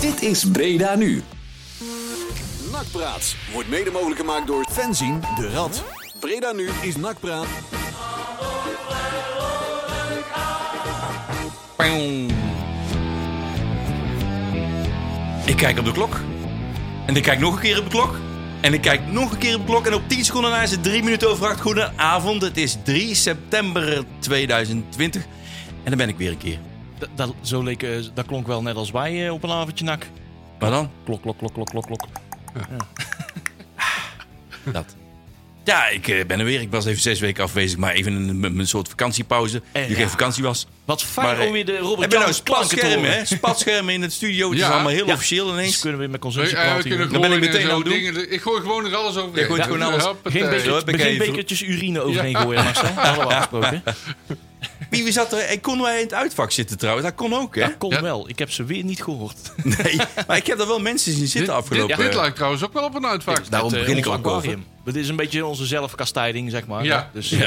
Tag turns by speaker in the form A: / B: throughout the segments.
A: Dit is Breda Nu.
B: Nakpraat wordt mede mogelijk gemaakt door Fenzien de Rad. Breda nu is Nakpraat.
C: Ik kijk op de klok. En ik kijk nog een keer op de klok. En ik kijk nog een keer op de klok. En op 10 seconden na is het 3 minuten over 8. Goedenavond. Het is 3 september 2020. En dan ben ik weer een keer.
D: Dat, dat, zo leek, eh, dat klonk wel net als wij eh, op een avondje nak.
C: Maar dan?
D: Klok, klok, klok, klok, klok, klok.
C: Dat. Ja, ik eh, ben er weer. Ik was even zes weken afwezig. Maar even een, een- een soort vakantiepauze.
D: Eh,
C: die geen
D: ja.
C: vakantie was.
D: Wat fijn
C: Maar, eh,
D: om weer de Robert
C: Hebben nou
D: Jans klanken te
C: spatschermen,
D: horen.
C: hè? Spatschermen in het studio. Het
E: Ja.
C: is allemaal heel
D: Ja.
C: officieel
D: Dus
C: ineens.
D: kunnen we weer met
E: Nee,
D: consumptie
E: ja, we
C: eh,
D: praten.
E: kunnen
D: jongen.
C: Dan ben ik
E: gewoon
C: meteen
E: zo
C: aan het doen.
E: dingen- Ik gooi gewoon er alles over.
C: Je gooit gewoon alles.
D: Geen,
C: Zo
D: bekertjes,
C: eh, heb ik
D: geen
C: even-
D: bekertjes urine overheen gooien, Marcel. Dat hadden we afgesproken.
C: Wie wie zat er? En konden wij in het uitvak zitten trouwens? Dat kon ook, hè?
D: Dat kon
E: Ja.
D: wel. Ik heb ze weer niet gehoord.
C: Nee. Maar ik heb er wel mensen zien zitten
E: Dit,
C: afgelopen. eh,
E: dit lijkt trouwens ook wel op een uitvak.
C: Daarom
D: Het, eh,
C: begin ik
D: ons
C: ook over.
D: aquarium. Dit is een beetje onze zelfkastijding, zeg maar.
E: Ja.
D: Dus eh,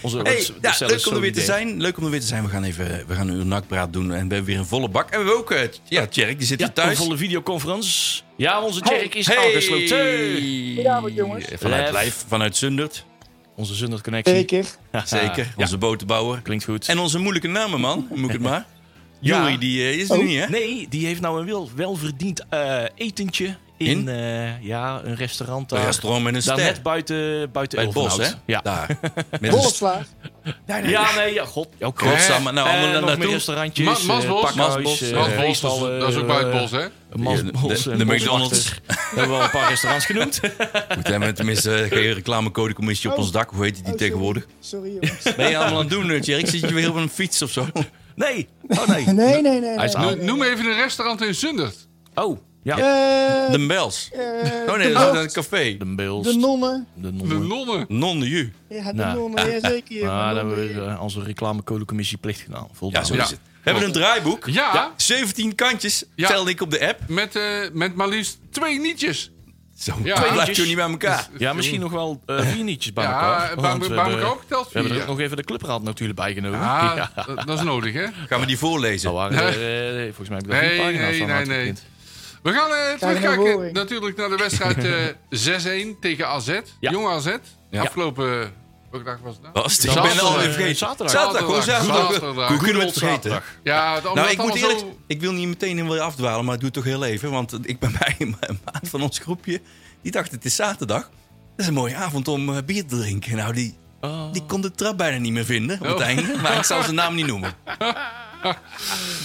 D: onze
C: Hey,
D: ons-
C: ja,
D: ons cel is
C: leuk om er weer te
D: solidair.
C: zijn. Leuk om er weer te zijn. We gaan even we gaan een uur nakpraat doen en we hebben weer een volle bak. En we hebben ook eh, ja, Tjerk, die zit
D: Ja,
C: hier thuis. Oh,
D: een volle videoconferentie. Ja, onze Jerk is
C: Hey. Eh,
D: aangesloten.
F: Goedenavond, jongens.
C: Vanuit
D: Lef.
C: Lijf, vanuit Zundert.
D: Onze Zundert Connectie.
F: Zeker.
C: Zeker.
D: Ja,
C: Onze botenbouwer.
D: klinkt goed.
C: En onze moeilijke namen, man. Moet ik het maar.
D: Ja.
C: Jury, die eh, is er
F: Oh,
C: niet, hè?
D: Nee, die heeft nou een wel, welverdiend eh, etentje in,
C: In?
D: eh, ja, een restaurant daar.
C: Een restaurant met een
D: daar
C: ster.
D: net buiten, buiten
C: Bij het bos, hè?
D: Ulvenhout. Ja.
C: Daar. Met een ster.
F: Bolleslaag.
D: ja, nee, ja, god. Ja,
C: Godsamme. Nou, allemaal
D: en
C: daar
D: nog meer
C: naartoe.
D: restaurantjes.
E: Ma- Masbos.
D: eh, pakhuis,
C: Masbos.
D: eh,
E: Dat is bos, dat is-
D: feestallen,
E: dat is ook bij het bos, hè?
D: eh, Masbos.
C: De-
D: en
C: de
D: boswachter.
C: McDonald's.
D: Hebben we al een paar restaurants genoemd.
C: Goed, hè, maar Tenminste, eh, geen reclamecodecommissie op ons dak. Hoe heet die
F: Oh. sorry.
C: tegenwoordig?
F: Oh, Sorry, jongens.
C: Ben je allemaal aan het doen, eh, Tjerk? Zit je weer op een fiets of zo?
D: Nee. Oh, nee.
F: Nee, nee, nee.
D: Hij is
F: nee,
D: aan.
F: nee, nee.
E: Noem even een restaurant in Zundert.
D: Oh, ja.
F: Eh,
C: De Bels.
F: eh,
C: Oh nee,
F: de,
C: dat is
F: Bult,
C: een café.
D: De Bils.
F: de nonnen.
D: De
E: De
D: nonnen.
E: nonnen.
C: Non de Ju.
F: Ja, de
D: Nou.
F: nonnen. Ja, zeker.
D: Ah, daar
F: de
D: hebben we
F: nonnen.
D: eh, onze reclamecodecommissie plicht gedaan.
C: Ja,
D: Voldaan.
C: zo
E: Ja.
C: is het. We hebben een draaiboek.
E: Ja,
C: 17 kantjes
E: Ja.
C: telde ik op de app.
E: Met, eh, met maar liefst twee nietjes.
C: Zo,
E: Ja.
C: twee
E: Tweetjes.
C: blijft jullie bij elkaar.
D: Ja, misschien nog wel eh, vier nietjes bij elkaar.
E: Ja, bij
D: want we
E: bij
D: hebben-
E: elkaar opgeteld
D: We hebben
E: vier.
D: er ook nog even de clubraad natuurlijk bijgenomen.
E: Ah,
D: ja.
E: dat- dat is nodig, hè?
C: Gaan we die voorlezen?
D: Dat waren er, eh, volgens mij heb ik dat
E: Nee,
D: vier pagina's
E: nee,
D: van
E: nee,
D: uitgeprint.
E: nee. We gaan eh,
F: naar
E: terugkijken
F: Woring.
E: natuurlijk naar de wedstrijd eh 6-1 tegen AZ.
D: Ja. Oh.
E: Jong AZ.
C: Ja.
E: Afgelopen... Welke dag was het nou?
C: Was het? Ik
D: Zaterdag.
C: ben het alweer vergeten.
D: Zaterdag.
C: Zaterdag. Gewoon
E: Zaterdag.
C: zaterdag.
E: Zaterdag.
C: Hoe kunnen we het
D: Goed
C: vergeten?
D: zaterdag.
E: Ja, het- omdat
C: Nou,
E: het
C: ik moet
E: allemaal
C: eerlijk...
E: zo-
C: Ik wil niet meteen in wil afdwalen, maar het doet toch heel even. Want ik ben bij een maat van ons groepje. Die dacht, het is zaterdag. Dat is een mooie avond om eh, bier te drinken. Nou, die,
D: Oh.
C: die kon de trap bijna niet meer vinden op het
E: Oh.
C: einde. Maar ik zal zijn naam niet noemen.
E: Daar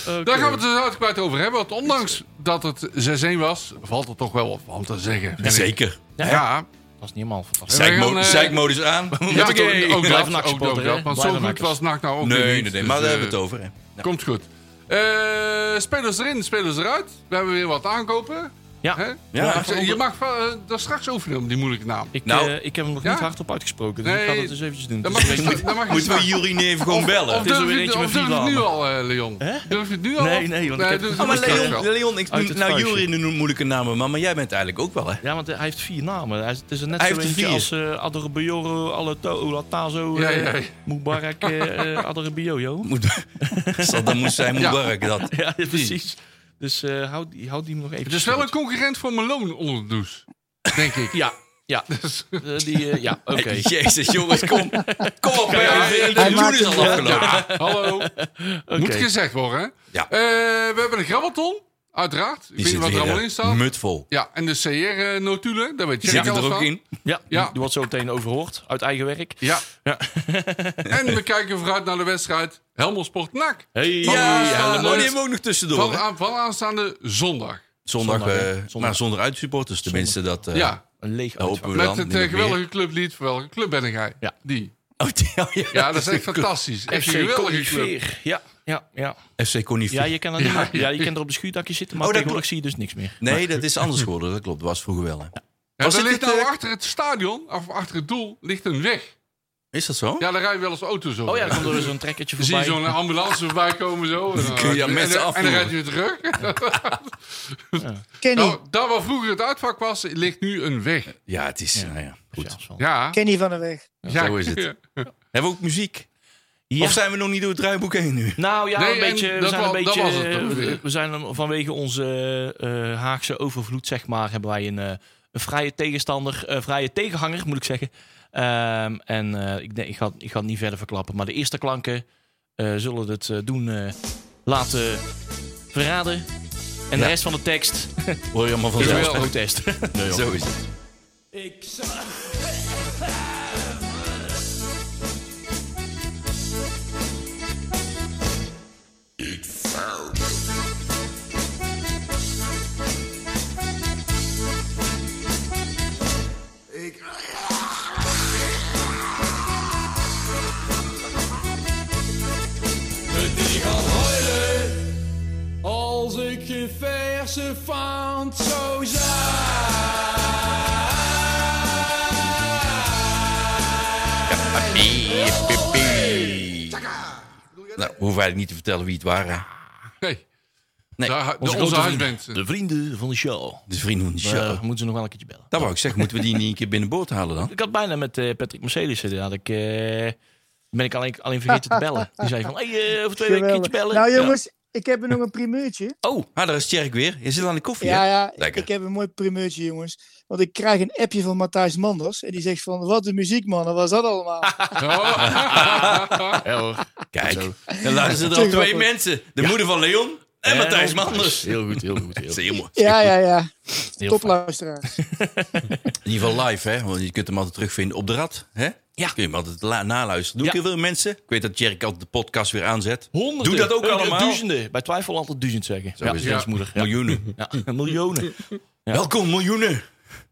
E: gaan we het dus uitgebreid over hebben. Want ondanks dat het 6-1 was, valt er toch wel wat van te zeggen. vind ik.
C: Zeker.
E: Ja,
D: Dat is niet helemaal fantastisch.
E: Zij-
C: Zeikmo-
E: gaan, eh,
C: Zeikmodus aan.
E: ja
C: Huppakee.
E: ook, ook
D: Blijf
E: dat.
D: een
E: Ook,
D: actiesupporter,
E: dat,
D: hè?
E: want
D: Blijf
E: zo
D: een
E: goed
D: acties.
E: was NAC nou ook weer
C: Nee,
E: niet.
C: nee, nee,
E: Dus,
C: maar daar
E: eh,
C: hebben we het over. Hè. Ja.
E: Komt goed. Eh, spelers erin, spelers eruit. We hebben weer wat aankopen.
D: Ja.
E: Hè?
C: Ja,
E: Ik zeg, je mag va- eh, daar straks over doen, die moeilijke naam.
D: Ik,
C: Nou.
D: eh, ik heb hem nog
E: Ja?
D: niet hardop uitgesproken, dus
E: Nee,
D: ik ga dat eens eventjes doen.
E: Dan
D: Dus
E: mag je,
D: ik weet niet-
E: dan mag je
C: Moeten we
E: straks-
C: Jurie nu even gewoon bellen?
E: Of
D: is
E: durf
D: er weer
E: je,
D: eentje
E: of
D: met
E: durf je het
D: vier
E: nu al, eh, Leon? Durf je het nu al?
D: Nee, nee, want ik heb-
E: durf je
C: Oh, maar
E: het straks
C: Leon,
E: wel.
C: Leon ik
D: Uit
C: noem
D: het
C: nou
D: vuistje.
C: Jurie noemt moeilijke namen, maar, maar jij bent eigenlijk ook wel, hè?
D: Ja, want hij heeft vier namen. Hij- Het is er net
C: Hij
D: zo
C: heeft er
D: eentje
C: vier.
D: als eh Adorbioro, Alato, Olatazo,
E: Ja,
D: eh,
E: ja, ja.
D: Mubarak, eh eh, Adorbioro.
C: Moet, Zal- dan moest zijn
E: Ja.
C: Mubarak dat.
D: Ja, precies. Dus eh houd, die, houd die hem nog even
E: Het is wel een concurrent voor Malone onder de douche. Denk ik. Dus-
D: Ja, ja. Eh, die, eh, ja, oké.
C: Hey, Jezus, jongens, kom. Kom op, hè.
E: ja,
C: De
E: hij
C: seizoen is
F: maakt
C: al
F: het-
C: afgelopen.
E: Ja, hallo. Moet
D: Oké.
E: gezegd worden, hè?
C: Ja.
E: Eh, we hebben een grabbelton, uiteraard. Ik
C: Die
E: weet niet
C: zit
E: wat er
C: weer
E: allemaal
C: eh,
E: in staat.
C: mutvol.
E: Ja, en de CR-notulen, daar weet je
C: Die zitten
E: alles
C: er ook
E: van.
C: in.
D: Ja,
E: Ja.
D: Die, die wordt zo meteen overhoord uit eigen werk.
E: Ja. en we kijken vooruit naar de wedstrijd Helmond Sport NAC.
D: Hey,
C: Ja,
E: eh,
C: ja,
E: Helmond.
C: die hebben we ook nog tussendoor.
E: Van,
C: hè.
E: aan- van aanstaande zondag.
C: Zondag,
D: Zondag, hè.
C: eh,
D: Zondag.
C: maar zonder uitsupporters tenminste. Dat, eh,
E: ja,
D: Een leeg
C: dat hopen
D: uitvak.
C: we
E: met
C: dan.
E: het
C: niet
E: eh,
C: meer.
E: geweldige clublied. Voor welke club ben jij?
D: Ja.
E: Die.
C: Oh, die- oh, ja.
E: Ja, dat is echt fantastisch. Echt een
D: FC
E: geweldige club.
D: Conifeer. Ja, ja, ja.
C: FC Conifie.
D: Ja, je kan, er niet
E: Ja,
D: meer- ja,
E: ja.
D: je kan er op de schuurdakje zitten, maar
C: Oh, dat
D: tegenwoordig zie je dus niks meer.
C: Nee, dat is anders geworden. Dat klopt. Dat was vroeger wel. Hè.
E: Ja,
C: Was
E: er
C: dit
E: ligt
C: het,
E: nou
C: eh,
E: achter het stadion, of achter het doel, ligt een weg.
C: Is dat zo?
E: Ja, daar rijden wel eens auto's over.
D: Oh ja, dan komt er zo'n trekkertje
E: Dan zie je
D: voorbij.
E: zo'n ambulance voorbij komen zo. En, dan-
C: kun je
E: en-
C: mensen
E: en, en dan
C: afvoeren.
E: rijdt je terug.
F: Kenny,
C: Oh.
E: Nou, daar waar vroeger het uitvak was, ligt nu een weg.
C: Ja, het is... Nou ja, goed.
E: Ja,
F: Kenny van der Weg.
E: ja.
C: zo is het. Hebben we ook muziek?
D: Ja.
C: Of zijn we nog niet door het draaiboek heen nu?
D: Nou ja,
E: Nee,
D: een
E: en
D: beetje, we
E: dat
D: zijn
E: wa-
D: een
E: dat
D: beetje.
E: was het ongeveer.
D: eh, we zijn hem- vanwege onze eh, eh, Haagse overvloed, zeg maar, hebben wij een, eh, een vrije tegenstander, eh, vrije tegenhanger, moet ik zeggen. Ehm, en eh, ik, denk- ik, ga, ik ga het niet verder verklappen, maar de eerste klanken eh, zullen het eh, doen eh, laten verraden. En de
C: Ja.
D: rest van de tekst
C: Hoor je allemaal
D: is
E: Jawel.
D: wel protest. nee,
C: Zo is het.
A: Als ik geen verse fant zou zijn.
C: Piep, piep, piep. Nou, hoef eigenlijk niet te vertellen wie het waren.
E: Nee.
C: Nee,
E: Daar- de,
D: onze
E: onze
D: grote vriend.
E: huisband.
D: De vrienden van de show.
C: de vrienden van de
D: Maar,
C: show.
D: eh, moeten ze nog wel een keertje bellen.
C: Dat wou ik zeggen, moeten we die niet een keer binnenboord halen dan?
D: Ik had bijna met eh, Patrick Mercedes zitten. Had ik, eh, ben ik alleen, alleen vergeten te bellen. Die zei van, hey, eh, over twee weken een keertje bellen.
F: Nou
D: Ja.
F: jongens, ik heb er nog een primeurtje.
C: Oh, ah, daar is Tjerk weer. Je zit aan de koffie,
F: Ja,
C: hè?
F: ja,
C: Lekker.
F: ik heb een mooi primeurtje, jongens. Want ik krijg een appje van Matthijs Manders. En die zegt van, wat een muziek, man. Wat was dat allemaal?
E: Oh.
D: Ja hoor.
C: Kijk,
D: Zo.
C: dan luisteren er al
F: Natuurlijk
C: twee
F: grappig.
C: mensen. De moeder van Leon en Matthijs
D: nog-
C: Manders.
D: Heel goed, heel goed. Heel
C: Dat is Eh, heel mooi.
F: ja, ja, ja.
D: heel fijn.
F: Topluisteraar.
C: In ieder geval live, hè? Want je kunt hem altijd terugvinden op de rad. Hè?
D: Ja.
C: Kun je hem altijd la- naluisteren. Doe
D: Ja.
C: ik heel veel mensen. Ik weet dat Jerk altijd de podcast weer aanzet.
D: Honderden.
C: Doe dat ook
D: Eh,
C: allemaal.
D: Duizenden. Bij twijfel altijd duizend zeggen.
C: Zo
D: ja,
C: is
D: is
C: het.
D: ons moeder. Ja.
C: Miljoenen.
D: Ja, miljoenen. Ja.
C: Welkom, miljoenen.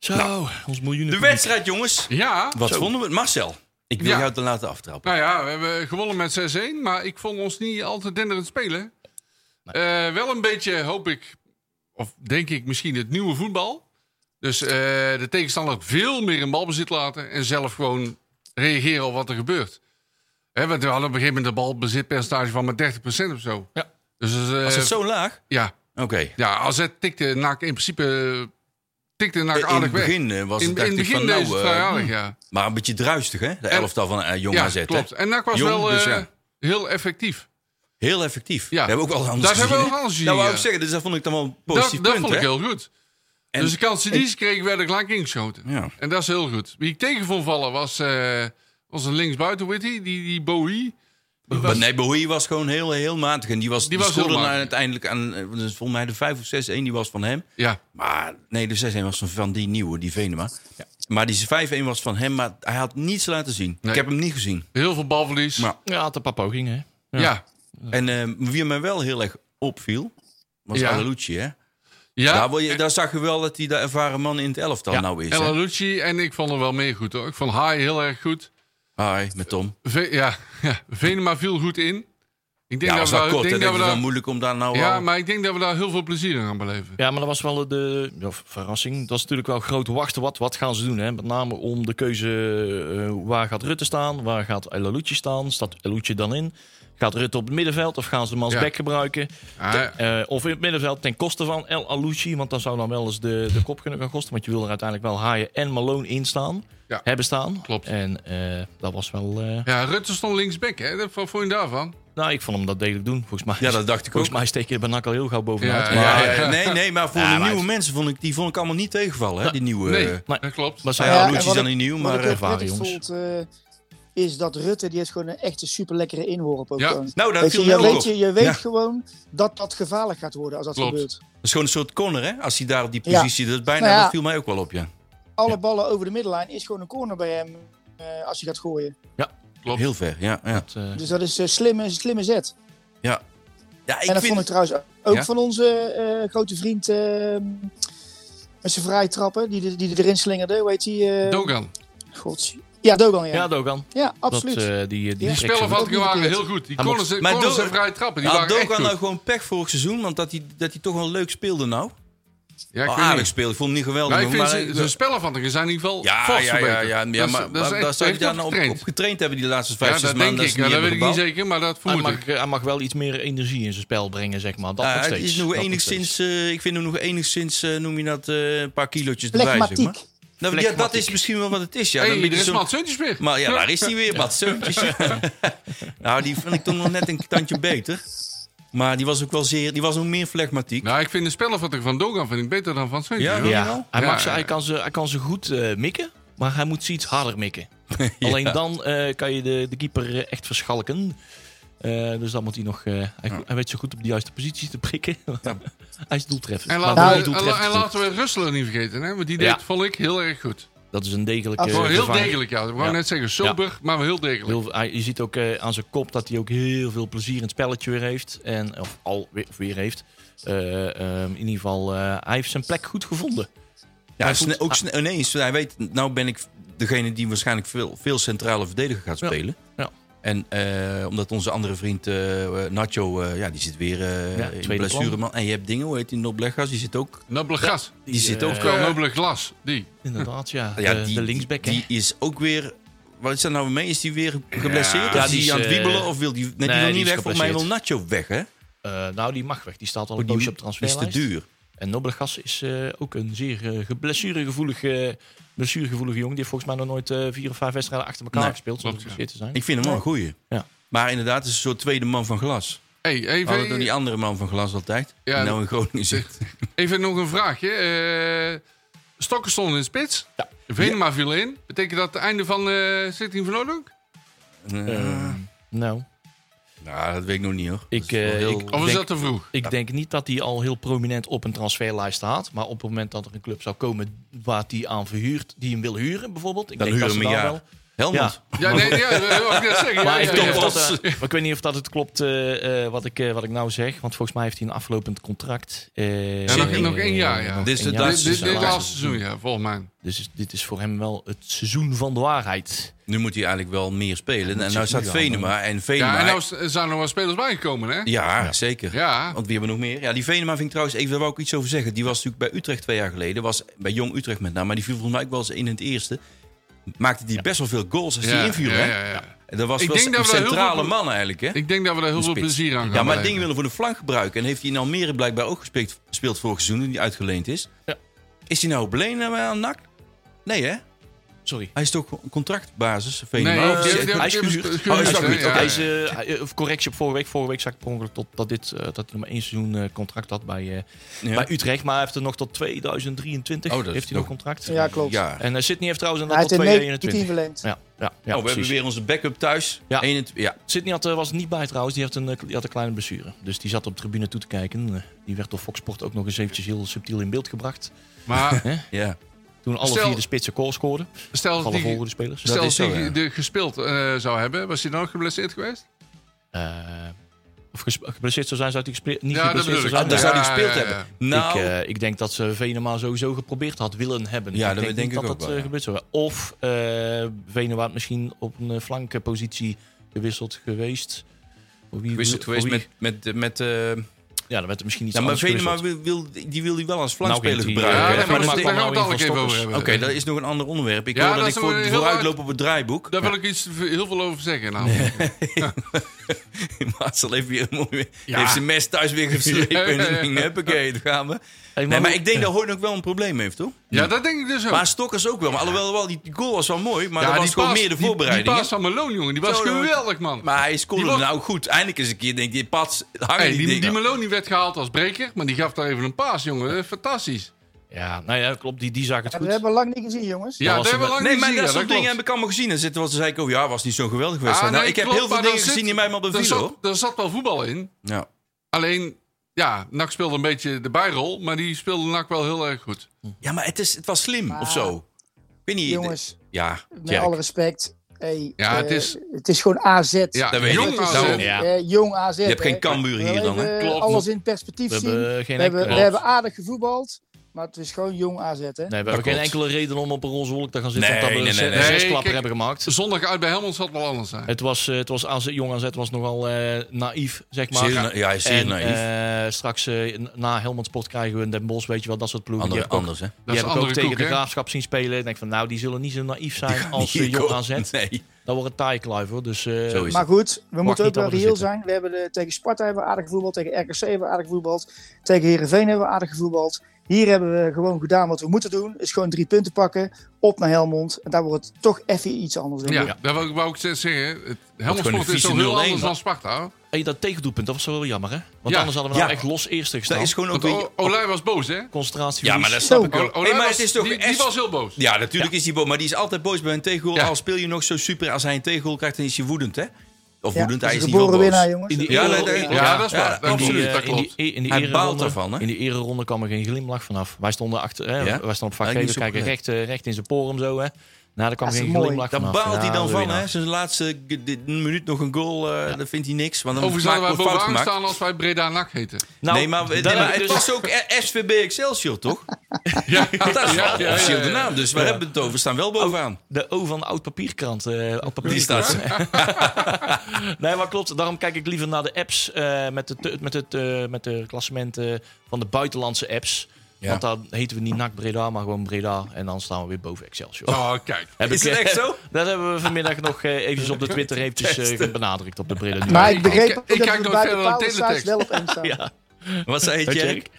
C: Nou,
D: Zo, ons miljoenen.
C: De wedstrijd, jongens.
E: Ja.
C: Wat vonden we? het? Marcel, ik wil
E: Ja.
C: jou te laten aftrappen.
E: Nou ja, we hebben gewonnen met 6-1, maar ik vond ons niet al te denderend spelen. Eh, wel een beetje, hoop ik, of denk ik misschien het nieuwe voetbal. Dus eh, de tegenstander veel meer in balbezit laten en zelf gewoon reageren op wat er gebeurt. Hè, want we hadden op een gegeven moment een balbezitpercentage van maar 30% of zo.
D: Ja.
E: Dus dat is, eh,
C: Was het zo laag?
E: ja,
C: Oké.
E: ja, AZ tikte NAC in principe tikte NAC
C: In het
E: aardig weg.
C: begin eh, was het
E: In, in
C: dacht
E: het
C: ik
E: begin
C: van
E: deze
C: nou,
E: het
C: eh,
E: vrij aardig, ja.
C: maar een beetje druistig hè? De elftal van eh, Jong
E: Ja,
C: AZ. hè?
E: klopt. En NAC was
C: Jong,
E: wel
C: dus
E: eh,
C: ja.
E: heel effectief.
C: Heel effectief.
E: Ja.
C: Dat hebben we ook wel anders
E: Daar
C: gezien.
E: hebben we
C: hè?
E: wel anders
C: Dat wou
E: gezien,
C: ik
E: ja.
C: zeggen, dus dat vond ik dan wel een
E: Dat,
C: positief
E: dat
C: punt,
E: vond ik
C: hè?
E: heel goed.
C: En-
E: dus de kansen die ze kregen, werden gelijk ingeschoten.
C: Ja.
E: En dat is heel goed. Wie ik tegen vond vallen was, eh, was een linksbuiten, weet je, die, die Bowie.
C: Maar nee, Bowie was gewoon heel, heel matig. En die was, die
E: was heel
C: scoorde na-
E: matig.
C: uiteindelijk aan, eh, dus volgens mij de 5 of 6-1, die was van hem.
E: Ja,
C: Maar nee, de 6-1 was van, van die nieuwe, die Venema. Maar die 5-1 was van hem, maar hij had niets laten zien.
E: Nee.
C: Ik heb hem niet gezien.
E: heel veel balverlies.
C: Maar-
D: Ja, had een paar pogingen. hè.
E: ja. Ja.
C: En eh, wie mij wel heel erg opviel, was
E: Ja.
C: Alalucci, hè? Daar, wil je, daar zag je wel dat hij de ervaren man in het elftal
D: Ja.
C: nou is.
E: El
C: hè?
E: Alucci en ik vond er wel meer goed hoor. Ik vond Haai heel erg goed.
C: Hi, met Tom.
E: Ve- ja, ja, Venema viel goed in. Ik denk
C: Ja,
E: dat
C: was
E: we daar,
C: dat
E: ik
C: kort, hè?
E: denk
C: Dat
E: dat
C: is
E: we
C: wel
E: daar,
C: moeilijk om daar nou
E: ja,
C: al-
E: maar ik denk dat we daar heel veel plezier aan gaan beleven.
D: Ja, maar dat was wel de ja, verrassing. Dat is natuurlijk wel groot wachten. Wat, wat gaan ze doen? Hè? Met name om de keuze, eh, waar gaat Rutte staan? Waar gaat Elucci staan? Staat Elucci dan in? Gaat Rutte op het middenveld of gaan ze de
E: Ja.
D: mansback gebruiken?
E: Ah,
D: Eh, of in het middenveld ten koste van El Alouchi. Want dan zou dan wel eens de, de kop kunnen gaan kosten. Want je wil er uiteindelijk wel Haaien en Malone in staan.
E: Ja,
D: Hebben staan.
E: klopt.
D: En eh, dat was wel... eh,
E: ja, Rutte stond linksback, hè? Wat vond je daarvan?
D: nou, ik vond hem dat degelijk doen. Volgens mij,
C: Ja, dat dacht ik ook.
D: volgens mij steek je er bij NAC al heel gauw bovenuit.
E: Ja,
D: Maar-
C: Maar, eh, Nee, nee, maar voor de
D: Ja, maar
C: nieuwe
D: het-
C: mensen vond ik, die vond ik allemaal niet tegenvallen, hè? Die nieuwe...
E: Nee,
C: eh,
D: maar-
E: dat klopt.
D: Maar zij
C: Nou
F: Ja,
C: ja,
F: en
C: Lucci
F: wat
C: is dan
F: ik-
C: niet nieuw,
F: Wat
C: maar...
F: ik heel
C: eh,
D: ervaren,
F: prettig
D: jongens.
F: vond, eh, is dat Rutte, die heeft gewoon een echt een super lekkere inworp. Ook
E: Ja.
F: gewoon.
C: nou, dat
F: Weet je,
C: viel
F: je,
C: mij ook op.
F: weet, je, je weet
C: Ja.
F: gewoon dat dat gevaarlijk gaat worden als dat
E: Klopt.
F: gebeurt.
C: Dat is gewoon een soort corner, hè? Als hij daar op die
F: Ja.
C: positie... Dat, is bijna,
F: Nou ja.
C: dat viel mij ook wel op, ja.
F: Alle
D: Ja.
F: ballen over de middenlijn is gewoon een corner bij hem eh, als je gaat gooien.
E: Klopt.
C: Heel ver, ja. Ja,
D: dat, eh,
F: Dus dat is een slimme, slimme zet.
C: ja. ja ik
F: en dat
C: vind...
F: vond ik trouwens ook
C: Ja?
F: van onze eh, grote vriend eh, met zijn vrije trappen, die, die erin slingerde. Hoe heet die? eh,
E: Dogan.
F: God. Ja, Dogan, ja.
D: Eh, ja, Dogan.
F: ja, absoluut.
D: Dat, eh, die, die
F: Die
E: Die
D: tricks
E: spellen
D: hebben-
E: van Akker waren
F: verkeerd.
E: heel goed. Die
D: Hij
E: konden
D: moet-
E: ze,
C: Maar
E: konden
C: Dogan-
E: ze vrij trappen. Die
C: Had
E: waren echt
C: Dogan nou
E: goed.
C: gewoon pech vorig seizoen, want dat hij, dat hij toch wel leuk speelde nou.
E: Ja, ik
C: Wel
E: weet
C: aardig
E: niet.
C: speelde, ik vond hem niet geweldig.
E: Nou, ik vind
C: maar,
E: ze, de spellen van Akker zijn in ieder geval
C: ja, ja, ja,
E: vast
C: ja,
E: verbeterd.
C: ja,
E: Dat
C: ja,
E: is-
C: maar,
E: dat is
C: maar
E: echt-
C: daar zou je
E: heeft
C: daar
E: hij
C: nou op,
E: getraind.
C: op getraind hebben die laatste vijf,
E: Ja,
C: zes
E: dat
C: maanden.
E: denk ik.
C: is
E: Ja,
C: niet
E: dat weet ik niet
C: helemaal
E: zeker, maar dat
D: Hij
E: vermoed ik.
D: mag, eh, hij mag wel iets meer energie in zijn spel brengen, zeg maar. Dat
C: Ah,
D: nog
C: het
D: steeds.
C: is nog
D: Dat nog
C: enigszins, eh, ik vind hem nog enigszins, eh, noem je dat, eh, een eh, paar kilootjes erbij, zeg maar.
F: Plegmatiek.
C: Nou, ja, dat is misschien wel wat het is. Ja,
E: hey,
C: Dan
E: er
C: ben je
E: is
C: zo'n-
E: Mats Huntjes weer.
C: Maar ja, daar is hij weer, Mats Seuntjes. nou, die vond ik toen nog net een tandje beter. Maar die was ook wel zeer, die was nog meer flegmatiek.
E: Nou, ik vind de spellenvatting van Dogan vind ik beter dan van Seuntjes.
C: Ja?
E: hoor.
D: Ja, hij,
E: Ja,
D: mag ze,
E: ja.
D: hij, kan ze, hij kan ze goed eh, mikken, maar hij moet ze iets harder mikken. Alleen dan eh, kan je de, de keeper eh, echt verschalken. Eh, dus dan moet hij nog... eh, hij, hij weet zo goed op de juiste positie te prikken. hij is doeltreffend.
E: En
D: Maar
E: laten,
D: wel
E: we, en,
D: doeltreffend
E: en
D: goed.
E: laten we Russelen niet vergeten, hè? want die deed,
D: Ja.
E: vond ik, heel erg goed.
D: Dat is een degelijke...
E: Gewoon heel
D: vervanger.
E: degelijk, ja. Ik wou
D: Ja.
E: net zeggen, sober, maar wel heel degelijk.
D: Heel- hij- je ziet ook eh, aan zijn kop dat hij ook heel veel plezier in het spelletje weer heeft. En, of al weer, of weer heeft. Eh, ehm, in ieder geval, eh, hij heeft zijn plek goed gevonden.
C: Ja,
D: goed.
C: sne- ook sne- ineens. Hij weet, nou ben ik degene die waarschijnlijk veel, veel centrale verdediger gaat
D: Ja.
C: spelen.
D: Ja.
C: En eh, omdat onze andere vriend eh, eh, Nacho, eh, ja, die zit weer eh
D: Ja,
C: in
D: tweede
C: blessure. Man. En je hebt dingen, hoe heet die, Noblegas, die zit ook...
E: Nobele gas.
C: Die, zit ook...
E: Of
C: eh,
E: wel nobele glas. Die.
D: Inderdaad, ja.
C: Ah ja,
D: de,
C: die,
D: de linksback, hè.
C: Die is ook weer... Wat is daar nou mee? Is die weer geblesseerd?
D: Ja,
C: Ja, is
D: die
C: die,
D: is,
C: aan het
D: eh,
C: wiebelen? Of wil die, nee, die
D: nee,
C: wil
D: die
C: niet
D: is
C: weg. Volgens mij wil
D: geblesseerd.
C: Nacho weg, hè?
D: Eh, nou, die mag weg. Die staat al
C: Oh,
D: een
C: die
D: poosje op
C: is te
D: transferlijst.
C: duur.
D: En Nobelgas is eh, ook een zeer eh, ge- blessuregevoelige, blessuregevoelige jongen. Die heeft volgens mij nog nooit eh, vier of vijf wedstrijden achter elkaar
C: Nee,
D: gespeeld. Zonder
E: klopt,
D: geblesseerd te zijn.
C: Ik vind hem wel een goeie.
D: Ja.
C: Maar inderdaad, het is een soort tweede man van glas.
E: Hey,
C: We hadden door
E: even,
C: die andere man van glas altijd.
E: Ja,
C: die nou in Groningen zit.
E: even nog een vraagje. Eh Stokken stonden in de spits.
D: Ja.
E: Venema viel in. Betekent dat het einde van eh Zitting van Lodewijk?
D: Eh, nou,
C: Nou, dat weet ik nog niet hoor.
D: Ik,
C: Dat is wel
D: eh,
C: heel-
D: ik-
E: Of is
D: Denk-
E: dat te vroeg?
D: ik denk niet dat hij al heel prominent op een transferlijst staat. Maar op het moment dat er een club zou komen waar hij aan verhuurt, die hem wil huren bijvoorbeeld. Ik
C: Dan
D: denk
C: huren
D: dat
C: we
D: ze
C: hem een
D: daar
C: jaar.
D: wel.
C: Helmond.
E: Ja, nee, ja, dat wou ik net zeggen. Ja,
D: Maar ik,
E: ja,
D: denk
E: ja.
D: dat, eh, maar ik weet niet of dat het klopt eh, eh, wat, ik, eh, wat ik nou zeg. Want volgens mij heeft hij een aflopend contract. Eh,
E: Ja, nog-
D: eh,
E: nog één jaar, ja.
D: nog
C: Dit is
D: één
C: het
D: jaar.
E: Dit-
C: laatste
E: Dit dit
C: seizoen.
E: laatste seizoen, ja, volgens mij.
D: Dus is- dit is voor hem wel het seizoen van de waarheid.
C: Nu moet hij eigenlijk wel meer spelen. en
D: zich
C: nou staat
D: nu gaan,
C: Venema. En Venema.
E: Ja, en nou s- zijn er nog wel spelers bijgekomen, hè?
C: ja, zeker.
E: Ja.
C: Want wie hebben we nog meer? Ja, die Venema vind ik trouwens, even, daar wou ik iets over zeggen. Die was natuurlijk bij Utrecht twee jaar geleden. Was bij Jong Utrecht met name. Maar die viel volgens mij ook wel eens in het eerste. Maakte die best wel veel goals als die inviel.
E: ja,
C: hè?
E: ja, ja.
C: En Dat was
E: Ik
C: wel
E: denk
C: een
E: dat we daar heel
C: centrale
E: veel-
C: man eigenlijk. Hè?
E: Ik denk dat we daar heel veel
C: spits.
E: plezier aan gaan
C: Ja, maar het
E: beleven.
C: ding willen voor de flank gebruiken. En heeft hij in Almere blijkbaar ook gespeeld, gespeeld vorig seizoen, toen die uitgeleend is.
D: Ja.
C: Is hij nou op leen aan NAC? Nee, hè?
D: Sorry.
C: Hij is toch een contractbasis?
E: Nee,
C: Venema?
E: die
C: Of
E: heeft-
C: is-
E: die heeft-
D: Hij is
E: die heeft-
D: gehuurd.
E: gehuurd,
C: Oh, is dat
E: hè?
C: goed?
E: Ja,
C: Oké.
D: Hij
E: ja.
D: is, eh, hij- eh, correctie op vorige week. Vorige week zag ik per ongeluk tot, dat, dit, eh, dat hij maar één seizoen eh, contract had bij, eh,
C: Ja.
D: bij Utrecht. Maar hij heeft er nog tot 2023
C: Oh, dat is
D: heeft hij nog
C: nog-
D: contract.
F: Ja, klopt.
C: Ja.
D: En eh, Sydney heeft trouwens
F: Hij
D: inderdaad
F: heeft
D: tot
F: een 19
D: 2021.
F: verlengd.
D: Ja, ja, ja
C: oh, we hebben
D: precies.
C: weer onze backup thuis.
D: Ja.
C: 21 ja.
D: Sydney had, eh, was er niet bij trouwens. Die, heeft een, eh, die had een kleine blessure. Dus die zat op de tribune toe te kijken. Eh, die werd door Fox Sport ook nog eens eventjes heel subtiel in beeld gebracht.
E: Maar
C: ja.
D: Toen alle
E: Stel-
D: vier de spitsen goal scoorden.
E: stel dat
D: Alle
E: die,
D: volgende spelers.
E: stel dat
C: is zo,
E: die
C: ja.
E: de- gespeeld eh, zou hebben, was hij dan ook geblesseerd geweest?
D: Eh, of ges- geblesseerd zou zijn, zou hij gespe- niet
E: Ja, dat
D: geblesseerd zou
E: bedoel ik.
C: Ah,
D: zijn.
C: daar
E: Ja,
C: zou hij gespeeld
E: ja, ja.
C: hebben. Nou,
D: Ik, eh, ik denk dat ze Venema sowieso geprobeerd had willen hebben.
C: Ja,
D: ik
C: dat
D: denk,
C: denk
D: niet
C: ik
D: dat
C: ook
D: dat
C: wel,
D: eh,
C: ja.
D: gebeurd zou hebben. Of eh Venema had misschien op een eh, flanke positie gewisseld geweest. Voor wie-
C: gewisseld
D: voor
C: geweest
D: wie-
C: met... met, eh, met eh,
D: Ja, dan werd er misschien iets
C: ja, maar
D: anders
C: Venema
D: gewisseld.
C: wil, wil, die wil hij wel als
D: Nou,
C: flankspeler
D: ging die-
C: gebruiken.
E: Ja,
C: hè?
E: nee,
D: maar
E: maar
D: dat
E: daar
D: kwam
E: gaan we
D: nou
E: het
D: in
E: dadelijk even
D: van
E: over
D: Stokkers.
E: hebben.
C: Oké, dat is nog een ander onderwerp. Ik
E: Ja,
C: hoor dat,
E: dat
C: ik
E: is
C: voor,
E: een heel
C: vooruit
E: uit-
C: loop op het draaiboek.
E: Daar wil ik iets, heel veel over zeggen. namelijk.
C: Maasel heeft weer een mooie... Heeft zijn mes thuis weer geslepen.
E: Ja, ja, ja.
C: En ging, huppakee, daar gaan we.
D: Hey, maar
C: Nee, maar
D: hoe-
C: ik denk dat Hoorn ook wel een probleem heeft, toch?
E: Ja, dat denk ik dus ook.
C: Maar Stokkers ook wel. Maar alhoewel, wel, die goal was wel mooi. Maar
E: ja,
C: dat was
E: die
C: gewoon
E: paas-
C: meer de
E: die-
C: voorbereiding.
E: Die,
C: hè?
E: paas van Meloni, jongen, die was
C: Zo, dat-
E: geweldig, man.
C: maar hij scoorde
E: Die
C: hem
E: was-
C: nou goed. Eindelijk eens een keer denk je, pats, hangen
E: Hey,
C: die,
E: die, die
C: dingen.
E: Meloni werd gehaald als breker, maar die gaf daar even een paas, jongen. Eh, Fantastisch.
D: Ja, nou ja, klopt. Die, die zag het
F: Ja,
D: goed.
F: dat hebben we lang niet gezien, jongens.
E: Ja,
D: was
E: dat
D: een-
E: hebben we lang
C: Nee,
E: niet
C: maar
E: gezien.
C: dat
E: ja, Ah,
C: soort dingen heb ik allemaal gezien. En zitten was ze zei ik ook, ja, was niet zo'n geweldige wedstrijd. nou, ik heb heel veel dingen gezien die mij maar
E: Er
C: bevielen,
E: zat,
C: hoor.
E: daar zat wel voetbal in.
C: Ja.
E: Alleen, ja, NAC speelde een beetje de bijrol, maar die speelde NAC wel heel erg goed.
C: Ja, maar het, is, het was slim, of zo. Ik weet niet.
F: Jongens,
C: Ja,
F: met
C: Tjerk.
F: alle respect. Hey,
E: Ja,
F: eh,
E: het is-
F: het is gewoon AZ.
E: Ja,
C: dat weet
E: jong
C: ik.
E: AZ.
C: Daarom.
D: Ja.
F: Eh, jong AZ. Je
C: hebt geen Cambuur hier dan, hè?
E: Klopt.
F: alles in perspectief
D: We
F: zien.
D: hebben geen
F: we, hebben, we
D: enkele-
F: hebben aardig gevoetbald, maar het is gewoon jong AZ, hè?
D: Nee, we hebben geen
C: klopt.
D: enkele reden om op een roze wolk te gaan zitten.
C: Nee,
D: omdat we
C: nee,
D: een
C: nee,
D: zes-
C: nee.
D: zes
E: Nee,
D: klapper
E: kijk,
D: hebben gemaakt.
E: Zondag uit bij Helmond zal het wel anders zijn.
D: Het was, eh, het was AZ, jong AZ was nogal eh, naïef, zeg maar.
C: Zeer na- ja, hij is zeer
D: en,
C: naïef.
D: eh, straks eh, na Helmond Sport krijgen we een Den Bos, weet je wel, dat soort ploegen.
C: Andere,
D: die heb ik ook, eh,
C: anders, hè?
E: Dat
D: die
E: is
D: heb ik
E: andere
D: ook tegen
E: koek,
D: de
E: hè?
D: graafschap zien spelen. Ik denk van, nou, die zullen niet zo naïef zijn als
C: Hier
D: eh, jong
C: komen-
D: AZ.
C: Nee,
D: Dan wordt het taai kluif, hoor. Dus, eh,
C: zo is
F: Maar
C: het.
F: goed, we moeten
D: niet
F: ook wel
D: alles
F: reëel
D: zitten.
F: zijn. We hebben de, tegen Sparta hebben we aardig gevoetbald, tegen RKC hebben we aardig gevoetbald, tegen Herenveen hebben we aardig gevoetbald. Hier hebben we gewoon gedaan wat we moeten doen. Is gewoon drie punten pakken. Op naar Helmond. En daar wordt het toch even iets anders. Denk
E: Ja,
F: ik.
E: dat wou ik, wou ik zeggen. Het Helmond
C: gewoon een
E: Sport is
C: vieze
E: zo heel
C: 0-1
E: anders
C: was.
E: dan Sparta. hoor.
D: Hey, dat tegendoelpunt, dat was wel heel jammer, hè? Want
E: Ja.
D: anders hadden we nou
C: Ja.
D: echt los eerste gestaan.
C: Dat is gewoon ook
E: Want
C: weer...
E: O- Olij was boos, hè?
D: concentratie.
C: Ja, maar dat
F: Zo.
C: snap ik
E: O-
C: ook.
E: Olij
C: Hey, maar
E: was-
C: het is toch
E: die, die
C: echt-
E: was heel boos.
C: Ja, natuurlijk is hij boos. Maar die is altijd boos bij een tegengoal.
E: Ja.
C: Al speel je nog zo super. Als hij een tegengoal krijgt, dan is hij woedend, hè? Of
F: Ja,
C: woedend,
F: dat
C: hij
F: is
C: is
F: een
C: niet wel
F: geboren
C: boos.
F: winnaar, jongens.
D: In die
C: Ja,
D: ere-
C: nee, nee,
D: in-
E: ja, dat is waar.
C: ja,
E: Dat
C: in die,
E: absoluut,
D: eh,
E: dat
D: in die-
E: klopt.
D: in die
C: Hij
D: ereronde-
C: baalt ervan, hè?
D: In die ereronde kwam er geen glimlach vanaf. Wij stonden achter, hè,
C: Ja?
D: wij stonden op vak
C: Eigenlijk
D: G,
C: niet
D: we
C: zo
D: kijken
C: goed.
D: recht, eh, recht in zijn porum zo, hè. Nou, daar kwam
F: Dat is
D: geen
F: mooi.
D: glimlach
C: Daar
D: vanaf.
C: baalt hij
D: Ja,
C: dan
D: wil je
C: van,
D: nou?
C: hè? Zijn laatste g- dit- minuut nog een goal, eh dan vindt hij niks. Want dan
E: Overigens
C: maakt
E: hadden
C: hij
E: wij
C: een fout
E: bovenaan
C: gemaakt.
E: staan als wij Breda NAC heten.
D: Nou,
C: nee, maar, nee,
D: daar-
C: maar het
D: dus-
C: was ook eh, SVB Excelsior, toch?
E: Ja,
C: Dat is wel
E: ja, ja,
C: officieel
E: ja.
C: de naam. Dus waar hebben we het over? We staan wel bovenaan.
D: De O van oud papierkrant. eh, oud papierkrant.
C: Die staat ze.
D: Nee, maar klopt. Daarom kijk ik liever naar de apps eh, met, de, met, het, eh, met de klassementen van de buitenlandse apps.
C: Ja.
D: Want dan heten we niet NAC Breda, maar gewoon Breda. En dan staan we weer boven Excelsior.
E: Oh, kijk.
D: Heb
C: Is
D: ik,
C: het
D: eh,
C: echt zo?
D: Dat hebben we vanmiddag nog eh, eventjes op de Twitter eventjes, eh, benadrukt op de Breda. Nieuwe.
F: Maar ik begreep
E: Ik-
F: ook
E: ik
F: dat
E: kijk
F: we
E: nooit
F: bij
E: verder dan
F: bepaalde sites
E: teletext.
F: wel op één staan.
D: Ja.
C: Wat zei je,
D: Weet je,
C: Jerk?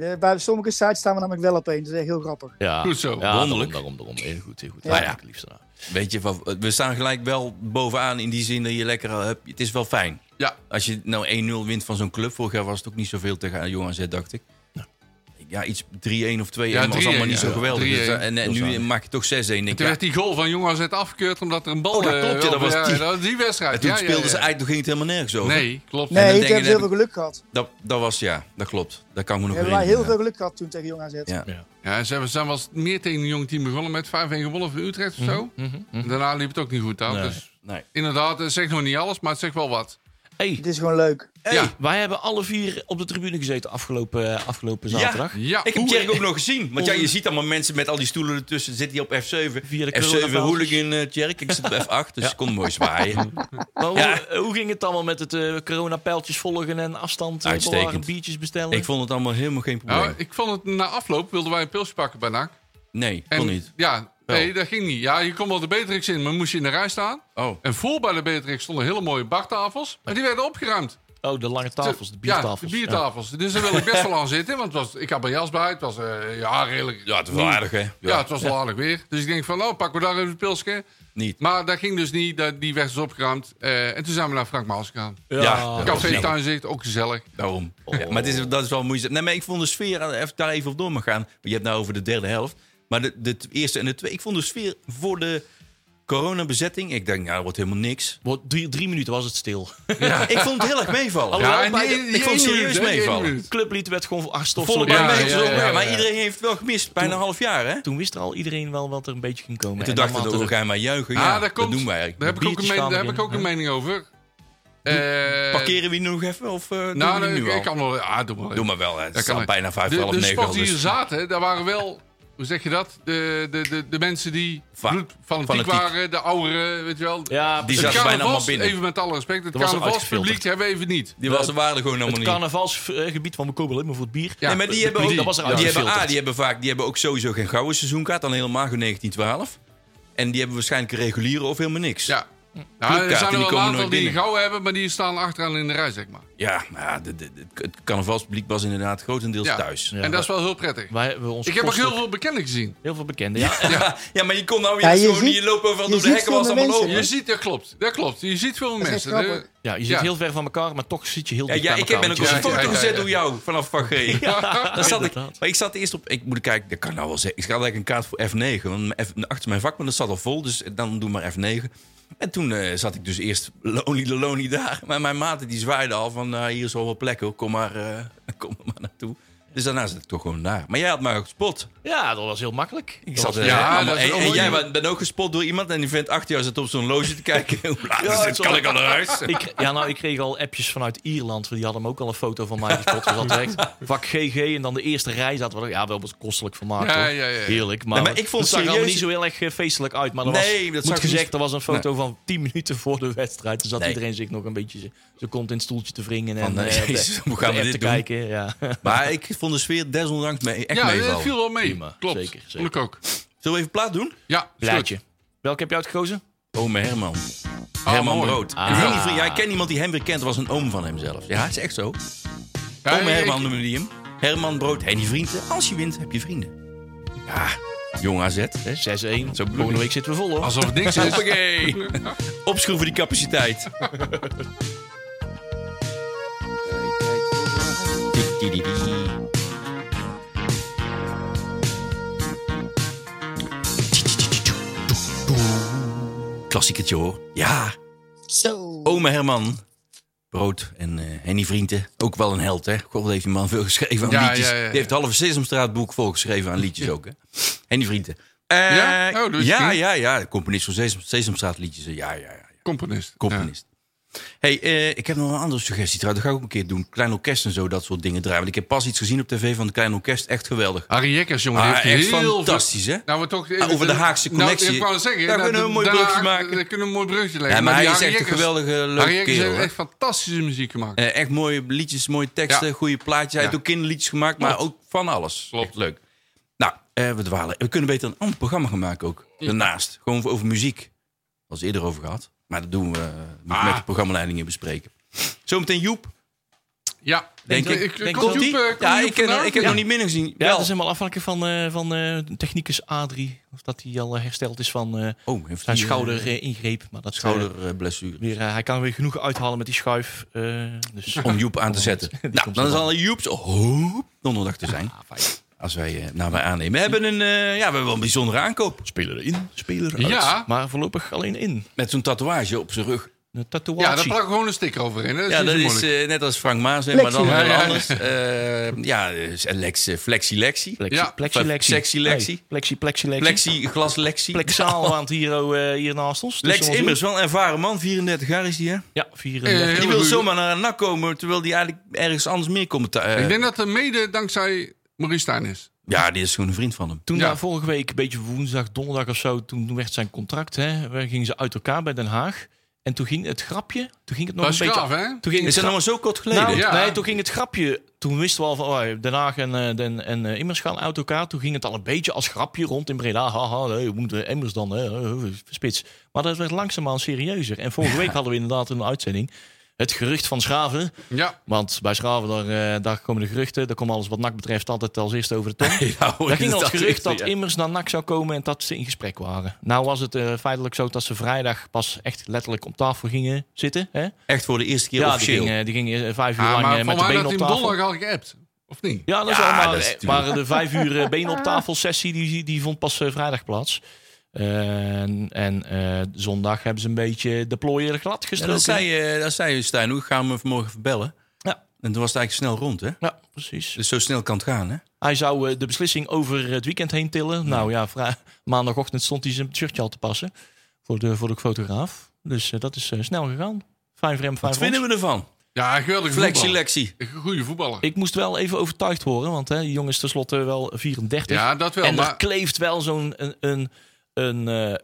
F: Eh, Bij sommige sites staan we namelijk wel op één. dus Dat is echt heel grappig.
D: Ja,
E: Goed zo.
D: Ja,
C: Wonderlijk.
D: Daarom, daarom, daarom. Heel goed, heel goed.
F: Ja.
D: Nou ja, het liefst daarna.
C: Weet je, wat- we staan gelijk wel bovenaan in die zin dat je lekker al hebt. Het is wel fijn.
E: Ja.
C: Als je nou 1-0 wint van zo'n club. Vorig jaar was het ook niet zoveel tegen Jong AZ, dacht ik. Ja, iets 3-1 of 2-1
E: Ja,
C: was allemaal
E: 3-1,
C: niet zo
E: ja.
C: geweldig.
E: 3-1.
C: Dus, eh, en, en nu maak je toch 6-1. Denk ik, ja.
E: Toen werd die goal van Jong AZ afgekeurd omdat er een bal...
C: Oh, dat
E: eh,
C: klopt, ja, dat was die.
E: dat was die wedstrijd.
C: En toen
E: ja, ja,
C: speelden
E: ja.
C: ze eigenlijk, toen ging het helemaal nergens over.
E: Nee, klopt.
C: dan
F: Nee,
C: denk
F: toen
C: ik
F: hebben ze heel
C: dat-
F: veel geluk gehad.
C: Dat, dat was, ja, dat klopt. Dat kan ik me nog
F: Hebben wij heel veel
C: herinneren.
F: geluk gehad toen tegen Jong AZ.
C: Ja.
E: Ja, ze hebben- zijn wel eens meer tegen een jong team begonnen met 5-1 gewonnen van Utrecht of zo. Daarna liep het ook niet goed uit. Dus
C: Mhm, Nee.
E: inderdaad, het zegt nog niet alles, maar het zegt wel wat.
D: Hey,
F: Het is gewoon leuk.
E: Ja.
D: wij hebben alle vier op de tribune gezeten afgelopen, eh, afgelopen
C: Ja.
D: zaterdag.
E: Ja,
C: Ik heb
E: Hoe-
C: Tjerk ook nog gezien. Want ja, je ziet allemaal mensen met al die stoelen ertussen. Zit hij op F7?
D: Via de
C: F7
D: coronapaaltjes.
C: hooligan, eh Tjerk. Ik zit op F8, dus ik kon mooi zwaaien.
D: Maar hoe,
C: Ja.
D: eh, hoe ging het allemaal met het eh corona-pijltjes volgen en afstand eh,
C: Uitstekend.
D: bewaren, biertjes bestellen?
C: Ik vond het allemaal helemaal geen probleem.
E: Nou, ik vond het na afloop wilden wij een pilsje pakken bij NAC.
C: nee,
E: En-
C: kon niet.
E: Ja,
C: Wel.
E: nee, dat ging niet. Ja, je kon wel de Beatrix in, maar moest je in de rij staan.
C: Oh.
E: En voor bij de Beatrix stonden hele mooie bartafels. Maar die werden opgeruimd.
D: Oh, de lange tafels, de biertafels.
E: Ja, de biertafels. Dus daar wil ik best wel aan zitten. Want het was, ik had mijn jas bij. Het was eh, ja, redelijk...
C: Ja, het was wel aardig, hè? Ja,
E: Ja, het was al aardig weer. Dus ik denk van, nou, pakken we daar even een pilsje.
C: niet.
E: Maar dat ging dus niet. dat- Die werd dus opgeruimd. Eh, en toen zijn we naar Frank Maals gegaan.
C: Ja.
D: Ja. Ja.
E: Café Tuinzicht, ook gezellig.
C: Daarom.
E: Oh.
C: Ja, maar het is, dat is wel moeizaam. Nee, maar ik vond de sfeer, eh, even daar even op door mag gaan. want Je hebt nou over de derde helft. Maar de, de t- eerste en de tweede, ik vond de sfeer voor de coronabezetting. Ik denk, nou, dat wordt helemaal niks.
D: Wat, Drie, drie minuten was het stil.
C: Ik vond het heel erg meevallen.
E: Ja,
D: maar
E: die-
D: ik-
E: die
C: ik vond
E: ene
C: serieus
E: minuut, hè, die ene
C: meevallen.
E: minuut.
D: Clublied werd gewoon
C: Volle
D: afstoffelijk.
E: Ja,
C: bak
E: ja,
C: meegezogen.
E: ja, ja,
C: Maar
E: ja.
C: iedereen heeft het wel gemist. Bijna een half jaar, hè?
D: Toen wist er al iedereen wel wat er een beetje ging komen.
C: En toen
D: dan
C: dachten we,
D: maakten
C: we
D: ze-
C: gaan maar juichen.
E: Ah,
C: Ja,
E: daar
C: dat,
E: komt,
C: doen wij
E: Daar
C: eigenlijk.
E: heb ik ook een,
D: Biertjes
E: mening,
D: staan
E: daar heb ik
D: erin,
E: ook een
D: hè?
E: mening over. Eh,
C: Parkeren we die nog even? Of eh, doen
E: Nou,
C: we die
E: nee,
C: nu
E: ik,
C: al?
E: ik kan wel. Ah, doe maar.
C: Doe maar wel, hè. het
E: Dat
C: is al
E: kan
C: bijna vijf,
E: De,
C: half
E: de
C: negen.
E: sports
C: al,
E: die
C: dus-
E: er zaten, daar waren wel. Hoe zeg je dat? De, de, de, de mensen die
C: Va-
E: bloed fanatiek
C: fanatiek.
E: waren, de ouderen, weet je wel.
D: Ja,
C: Die zaten
E: Het
C: bijna allemaal
E: carnavals,
C: binnen.
E: Even met alle respect, het
D: Er was al
E: carnavalspubliek
D: uitgefilterd.
E: hebben we even niet.
C: Die was er waren er gewoon
D: het
C: helemaal niet.
D: carnavalsgebied van Bekobbel, alleen maar voor het bier.
E: Ja.
C: nee, maar die
D: de
C: hebben ook,
D: politie, dat was eruit
C: die hebben,
D: gefilterd.
C: A, die hebben vaak, die hebben ook sowieso geen gouden seizoenkaart, dan helemaal geen 1912. En die hebben waarschijnlijk een reguliere of helemaal niks.
E: Ja. Ja,
C: Clubkaarten,
E: er zijn
C: die
E: er wel
C: komen
E: een
C: nooit
E: aantal die een
C: binnen.
E: gauw hebben, maar die staan achteraan in de rij, zeg maar.
C: ja maar ja, de, de, de- het carnavalspubliek was inderdaad grotendeels
E: Ja.
C: thuis.
E: En dat is wel heel prettig.
D: Wij hebben ons
E: Ik heb ook heel
D: kostelijk-
E: veel bekenden gezien.
D: heel veel bekenden. Ja.
C: Ja, maar je kon nou weer
F: Ja, je
C: zo
F: ziet-
C: niet, je loopt overal
F: je
C: door de
F: ziet
C: hekken was
F: veel
C: allemaal
F: mensen.
C: open.
E: Je ziet, dat klopt. Dat klopt. Je ziet veel
F: is
E: mensen.
F: echt grappig.
E: De-
D: ja, je zit
E: Ja.
D: heel ver van elkaar, maar toch zit je heel
C: Ja,
D: dicht
C: ja,
D: bij
C: ik heb
D: elkaar,
C: ben ook
D: want
C: eens
D: je
C: een
E: Ja, ja,
C: foto
E: ja,
C: gezet
E: ja.
C: door jou vanaf Van G. Daar zat ik,
D: inderdaad.
C: maar ik zat eerst op. Ik moet kijken, dat kan nou wel zeggen. Ik had eigenlijk een kaart voor F9. Want mijn F, achter mijn vak, maar dat zat al vol. Dus dan doe maar F9. En toen eh, zat ik dus eerst lonely de lonely daar. Maar mijn maten die zwaaiden al van eh, hier is al wel plek hoor. Kom maar, eh, kom er maar naartoe. Dus daarna zat ik toch gewoon daar. Maar jij had mij ook gespot.
D: Ja, dat was heel makkelijk.
C: Ik
D: Dat
C: zat,
D: was-
C: eh,
E: Ja,
C: allemaal-
E: dat is
C: en,
E: wel
C: en jij
E: mooi.
C: wa- bent ook gespot door iemand. En die vent achter jou zat op zo'n loge te kijken. Hoe laat is het?
D: sorry.
C: Kan ik al naar huis?
D: Ik, ja, nou, ik kreeg al appjes vanuit Ierland. want Die hadden hem ook al een foto van mij gespot. Dus dat echt vak GG en dan de eerste rij zaten we er- Ja, wel wat kostelijk vermaakt.
E: Ja,
D: hoor.
E: ja, ja.
D: Heerlijk. Maar,
C: Nee, maar ik vond
D: het zag er allemaal
C: serieus-
D: niet zo heel erg eh, feestelijk uit. Maar er
C: Nee,
D: was,
C: dat zag
D: moet
C: ik
D: gezegd,
C: niet.
D: er was een foto van 10 minuten voor de wedstrijd. Toen zat
C: Nee.
D: iedereen zich nog een beetje zo- zo komt in het stoeltje te wringen. En
C: Van,
D: eh,
C: eh,
D: op de-
C: Jezus, hoe
D: op de
C: gaan we
D: app
C: dit
D: te
C: doen?
D: kijken. Ja.
C: Maar ik vond de sfeer desondanks mee, echt
E: Ja,
C: meevallen.
E: dat viel wel mee.
D: Prima.
E: Klopt.
D: Zeker, zeker.
E: Vond ik ook.
C: Zullen we even plaat doen?
E: Ja, is goed.
D: Plaatje. Welke heb je uitgekozen?
C: Ome Oh, Herman. Herman
E: mooi.
C: Brood.
D: Ah.
C: Een vriend van- ja, ik ken iemand die hem weer kent. Dat was een oom van hem zelf. Ja, het is echt zo.
E: Ja,
C: oom
E: Eh, ik-
C: Herman noemde die hem. Herman Brood en die vrienden. Als je wint, heb je vrienden. Ja, jong AZ. Hè?
D: 6-1.
C: Zo bedoel
D: Volgende
C: ik.
D: week zitten we vol hoor.
E: Alsof het niks is.
C: Hoppakee. Opschroeven die capaciteit. Klassieketje hoor. Ja,
F: Zo.
C: ome Herman. Brood en eh Henny Vrienden. Ook wel een held, hè? God, wat heeft die man veel geschreven aan
E: Ja,
C: liedjes.
E: ja, ja, ja.
C: Die heeft het halve Sesamstraatboek volgeschreven aan liedjes ook, hè? Henny Vrienden. Eh, ja?
E: Ja? Oh, dat wist ik
C: ja,
E: niet.
C: ja, De componist van Sesam, Sesamstraatliedjes. Ja, ja, ja. ja.
E: Componist.
C: Componist. hey, eh, ik heb nog een andere suggestie trouwens. Dat ga ik ook een keer doen. Klein orkest en zo, dat soort dingen draaien. Want ik heb pas iets gezien op tv van het Klein Orkest. Echt geweldig.
E: Ja. Harry Jekkers, jongen,
C: Ah,
E: heeft
C: echt
E: heel
C: fantastisch,
E: veel-
C: hè?
E: Nou, we toch,
C: Ah, over de Haagse connectie.
E: Nou, ik wou het zeggen.
C: Daar
E: nou,
C: kunnen we een mooi
E: daar-
C: brugje maken.
E: Daar eh, kunnen we een mooi brugje leggen.
C: Ja, maar
E: die
C: hij is
E: Harry
C: echt een
E: Jekkers-
C: geweldige,
E: Harry
C: leuke
E: Jekkers
C: kerel.
E: heeft
C: hè?
E: echt fantastische muziek gemaakt.
C: Eh, echt mooie liedjes, mooie teksten,
E: Ja.
C: goede plaatjes. Hij
E: Ja.
C: heeft ook kinderliedjes gemaakt, maar ook van alles.
E: Klopt.
C: Echt leuk. Nou, eh, we dwalen. We kunnen beter een ander programma gaan maken ook. Daarnaast. Gewoon over muziek. Als eerder over gehad. Maar dat doen we eh, moeten
E: Ah.
C: we met de programmaleidingen bespreken. Zometeen Joep.
E: Ja.
C: Denk ik.
D: Denk
E: komt
D: ik.
E: Joep, eh, komt
C: ja,
E: Joep
C: ik, ken-
E: vandaan?
C: ik heb
E: Ja.
C: nog niet minder gezien.
D: Ja,
C: Wel.
D: dat is helemaal afhankelijk van, eh, van eh, technicus Adrie. Of dat hij al eh, hersteld is van eh,
C: Oh, heeft
D: zijn
C: hij, eh,
D: schouder eh, ingreep. Maar dat is, eh,
C: schouderblessure.
D: weer, eh, hij kan weer genoeg uithalen met die schuif. eh, dus
C: Om Joep aan te zetten.
D: Die
C: nou,
D: komt
C: dan
D: zo
C: zal Oh, Joep's hoop donderdag te zijn. Als wij, eh, nou, wij aannemen. We hebben een, eh, ja, we hebben wel een bijzondere aankoop.
D: speler in, speler uit.
E: Ja.
D: Maar voorlopig alleen in.
C: Met zo'n tatoeage op zijn rug.
D: Een
E: Ja, daar
D: tatoeage.
E: plak ik gewoon een sticker overheen. hè. Dat is
C: Ja,
E: niet
C: dat
E: zo
C: is
E: moeilijk.
C: eh, net als Frank Maas, hè, maar
F: Flexie.
C: dan
F: Ja,
C: heel
E: ja.
C: anders. Eh, ja, dus Lex, eh, Flexi-Lexi.
D: Plexi,
E: Ja.
D: plexi, lexi.
C: Sexy lexi.
D: Nee, plexi, plexi, lexi.
C: Plexi-glas-Lexi.
D: Plexaal aan het hier, oh, eh, hier naast ons. tussen
C: Lex
D: ons
C: Immers, wel een ervaren man, 34 jaar is hij, hè?
D: door. Ja, 34.
E: Eh,
C: Die
E: Heel
C: wil
E: goed.
C: zomaar naar een nak komen, terwijl die eigenlijk ergens anders meer komt. te- eh,
E: Ik denk dat dat mede dankzij Maurice Stijn is.
C: ja, die is gewoon een vriend van hem.
D: Toen
E: Ja.
D: daar vorige week, een beetje woensdag, donderdag of zo, toen toen werd zijn contract. Hè, we gingen ze uit elkaar bij Den Haag. En toen ging het grapje, toen ging het nog
E: Dat
D: een
E: is
D: beetje...
E: gaaf, hè?
D: Toen ging
C: Is
D: het
C: dat
D: grap-
C: allemaal zo kort geleden?
D: nou,
E: Ja.
D: Nee, toen ging het grapje. Toen wisten we al van oh, Den Haag en, eh, Den, en eh, Immers gaan uit elkaar. Toen ging het al een beetje als grapje rond in Breda. Haha, nee, we moeten Immers dan, hè, eh, spits. Maar dat werd langzaamaan serieuzer. En vorige week hadden we inderdaad een uitzending. Het gerucht van Schaven.
E: Ja.
D: Want bij Schaven, daar, eh, daar komen de geruchten. Daar komt alles wat NAC betreft altijd als eerste over de tong.
C: Ja, hoor,
D: Daar ging al
C: dat
D: het gerucht
C: is-
D: dat
C: ja.
D: Immers naar NAC zou komen en dat ze in gesprek waren. Nou was het eh, feitelijk zo dat ze vrijdag pas echt letterlijk op tafel gingen zitten. Hè?
C: Echt voor de eerste keer
D: Ja, die
C: officieel.
D: gingen, die gingen eh, vijf uur
E: Ah,
D: lang eh,
E: maar
D: met
E: van
D: de
E: mij
D: benen
E: dat
D: op
E: hij
D: tafel.
E: donderdag al geappt. Of niet?
D: Ja, dat is
C: Ja,
D: wel, maar,
C: dat is
D: eh,
C: natuurlijk-
D: maar de vijf uur eh, benen
E: Ah.
D: op tafel sessie die, die vond pas eh, vrijdag plaats. Eh, en en eh, zondag hebben ze een beetje de plooien glad
C: Ja,
D: gestoken.
C: dat, zei, eh, dat zei Stijn, hoe gaan we vanmorgen verbellen?
D: Ja.
C: En toen was het eigenlijk snel rond, hè?
D: Ja, precies.
C: Dus zo snel kan het gaan, hè?
D: Hij zou eh, de beslissing over het weekend heen tillen. Nou ja, vri- maandagochtend stond hij zijn shirtje al te passen voor de, voor de fotograaf. Dus eh, dat is eh, snel gegaan. Fijn voor hem, fijn
C: Wat
D: voor
C: vinden
D: ons.
C: we ervan?
E: Ja, geweldig voetballer.
C: Flexi-Lexi.
E: Een goede voetballer.
D: Ik moest wel even overtuigd horen, want hè, die jongen is tenslotte wel 34.
E: Ja, dat wel.
D: en er
E: maar
D: kleeft wel zo'n een, een, een, eh,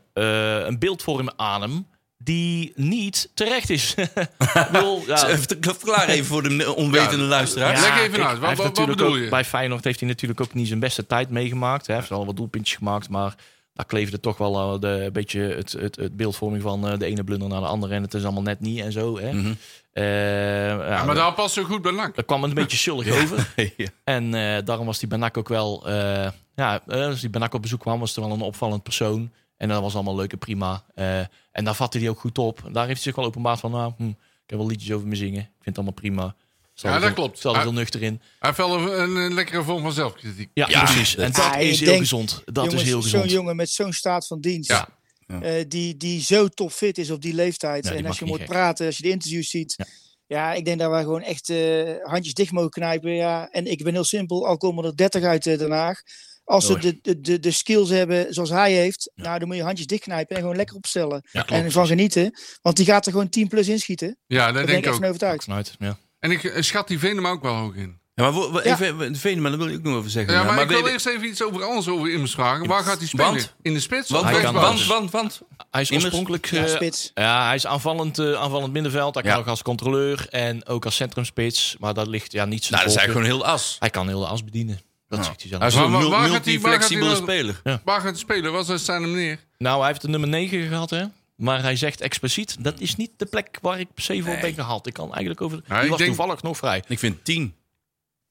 D: eh, een beeldvorm aan hem die niet terecht is. Ik bedoel, ja,
C: Even- Verklaar even voor de onwetende
E: Ja.
C: luisteraars.
E: Leg even
D: kijk,
E: uit, wat-
D: hij heeft
E: wat- wat
D: natuurlijk
E: bedoel
D: ook-
E: je?
D: Bij Feyenoord heeft hij natuurlijk ook niet zijn beste tijd meegemaakt. Hè. Hij heeft wel wat doelpuntjes gemaakt, maar daar kleefde toch wel eh, de, een beetje het, het, het beeldvorming van eh, de ene blunder naar de andere. En het is allemaal net niet en zo. Hè. Eh, ja,
E: Mhm. Ja, maar daar past zo goed bij Nak.
D: dat kwam een beetje zullig over.
C: Ja.
D: En eh, daarom was die Banak ook wel... eh, ja, eh, als die Banak op bezoek kwam, was er wel een opvallend persoon. En dat was allemaal leuk en prima. Eh, en daar vatte hij ook goed op. En Daar heeft hij zich wel openbaar van... Nou, hm, ik heb wel liedjes over me zingen. Ik vind het allemaal prima. Stel
E: Ja,
D: er
E: dat
D: veel-
E: klopt.
D: Stel er
E: Ah.
D: heel nuchter in.
E: Hij heeft wel een, een, een lekkere vorm van zelfkritiek.
D: Ja,
C: Ja,
D: precies.
C: dat-
D: En dat
F: Ah,
D: is
F: ik
D: heel
F: denk-
D: gezond. Dat
F: Jongens,
D: is heel
F: Zo'n
D: gezond.
F: jongen met zo'n staat van dienst.
E: Ja.
C: Ja.
F: eh, die, die zo topfit is op die leeftijd.
D: Ja, die
F: en
D: mag
F: als je
D: niet
F: hem hoort
D: gek.
F: praten, als je de interviews ziet. Ja. ik denk dat wij gewoon echt eh, handjes dicht mogen knijpen. Ja. En ik ben heel simpel, al komen er 30 uit eh, Den Haag. Als ze
C: Mooi.
F: de, de, de, de skills hebben zoals hij heeft, nou dan moet je handjes dicht knijpen en gewoon lekker opstellen.
E: klopt.
F: en ervan genieten. Want die gaat er gewoon 10 plus inschieten. Daar
E: Ja, dat
F: ben
E: denk
F: ik
E: ik
F: echt
E: ook.
F: van overtuigd.
D: Vanuit, ja.
E: En ik eh, schat die Venema ook wel hoog in.
C: Ja, maar wo- wo-
F: Ja.
C: even, we- Venema, daar wil ik ook nog over zeggen.
E: Ja, maar, ik
C: weet
E: wil eerst even iets over anders over Immers vragen. Waar gaat hij spelen?
C: Want?
E: In de spits?
C: Want,
E: of
D: hij
C: want,
D: kan
E: rechtsbuiten?
C: want,
D: alles.
C: want, want-
D: Hij is
C: Immers?
D: oorspronkelijk...
F: Ja,
D: eh,
F: spits.
D: ja, hij is aanvallend, eh, aanvallend middenveld. Hij kan
C: Ja.
D: ook als controleur en ook als centrumspits. Maar dat ligt ja, niet zo
C: Nou, dat is eigenlijk gewoon heel as.
D: Hij kan heel de as bedienen. Dat zegt hij zelf.
C: Hij is
E: Maar
C: een
E: waar-
C: mul-
E: waar gaat hij- waar gaat hij
C: multi-flexibele
E: nou-
C: speler.
E: Waar gaat hij spelen? Wat is zijn meneer?
D: Nou, hij heeft de nummer 9 gehad, hè? Maar hij zegt expliciet, dat is niet de plek waar ik per se voor
C: Nee.
D: ben gehaald. Ik kan eigenlijk over...
E: Ja,
D: die
E: ik
D: was
E: denk-
D: toevallig nog vrij.
C: Ik vind 10.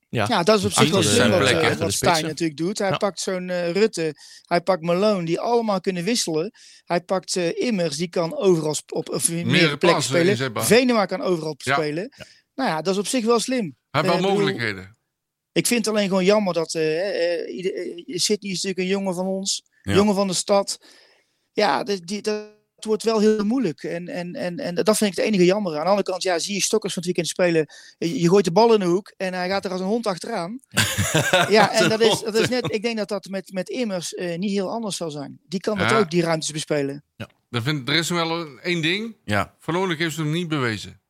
D: Ja.
F: Ja, dat is op zich wel
C: Precies,
F: slim
C: dat
F: wat,
C: zijn
F: eh,
C: plekken voor
F: wat
C: de
F: Stijn
C: spitsen.
F: natuurlijk doet. Hij
D: Ja.
F: pakt zo'n eh, Rutte, hij pakt Malone, die allemaal kunnen wisselen. Hij pakt eh, Immers, die kan overal sp- op of meerdere plekken
E: plaatsen
F: spelen.
E: inzetbaar.
F: Venema kan overal
E: Ja.
F: spelen. Nou ja, dat is op zich wel slim.
E: Hij heeft
F: Eh,
E: wel
F: ik bedoel-
E: mogelijkheden.
F: Ik vind het alleen gewoon jammer dat eh, eh, ieder- eh, Sydney is natuurlijk een jongen van ons,
C: Ja.
F: jongen van de stad. Ja, dat, die, dat wordt wel heel moeilijk. En, en, en, en dat vind ik het enige jammer. Aan de andere kant, ja, zie je Stokkers van het weekend spelen. Je, je gooit de bal in de hoek en hij gaat er als een hond achteraan. Ja, en dat is, dat is net, ik denk dat dat met, met Immers eh, niet heel anders zal zijn. Die kan dat
E: Ja.
F: ook, die ruimtes bespelen.
E: Er, vindt, er is nog wel een- één ding.
C: Ja.
E: Verloonlijk heeft ze hem niet bewezen.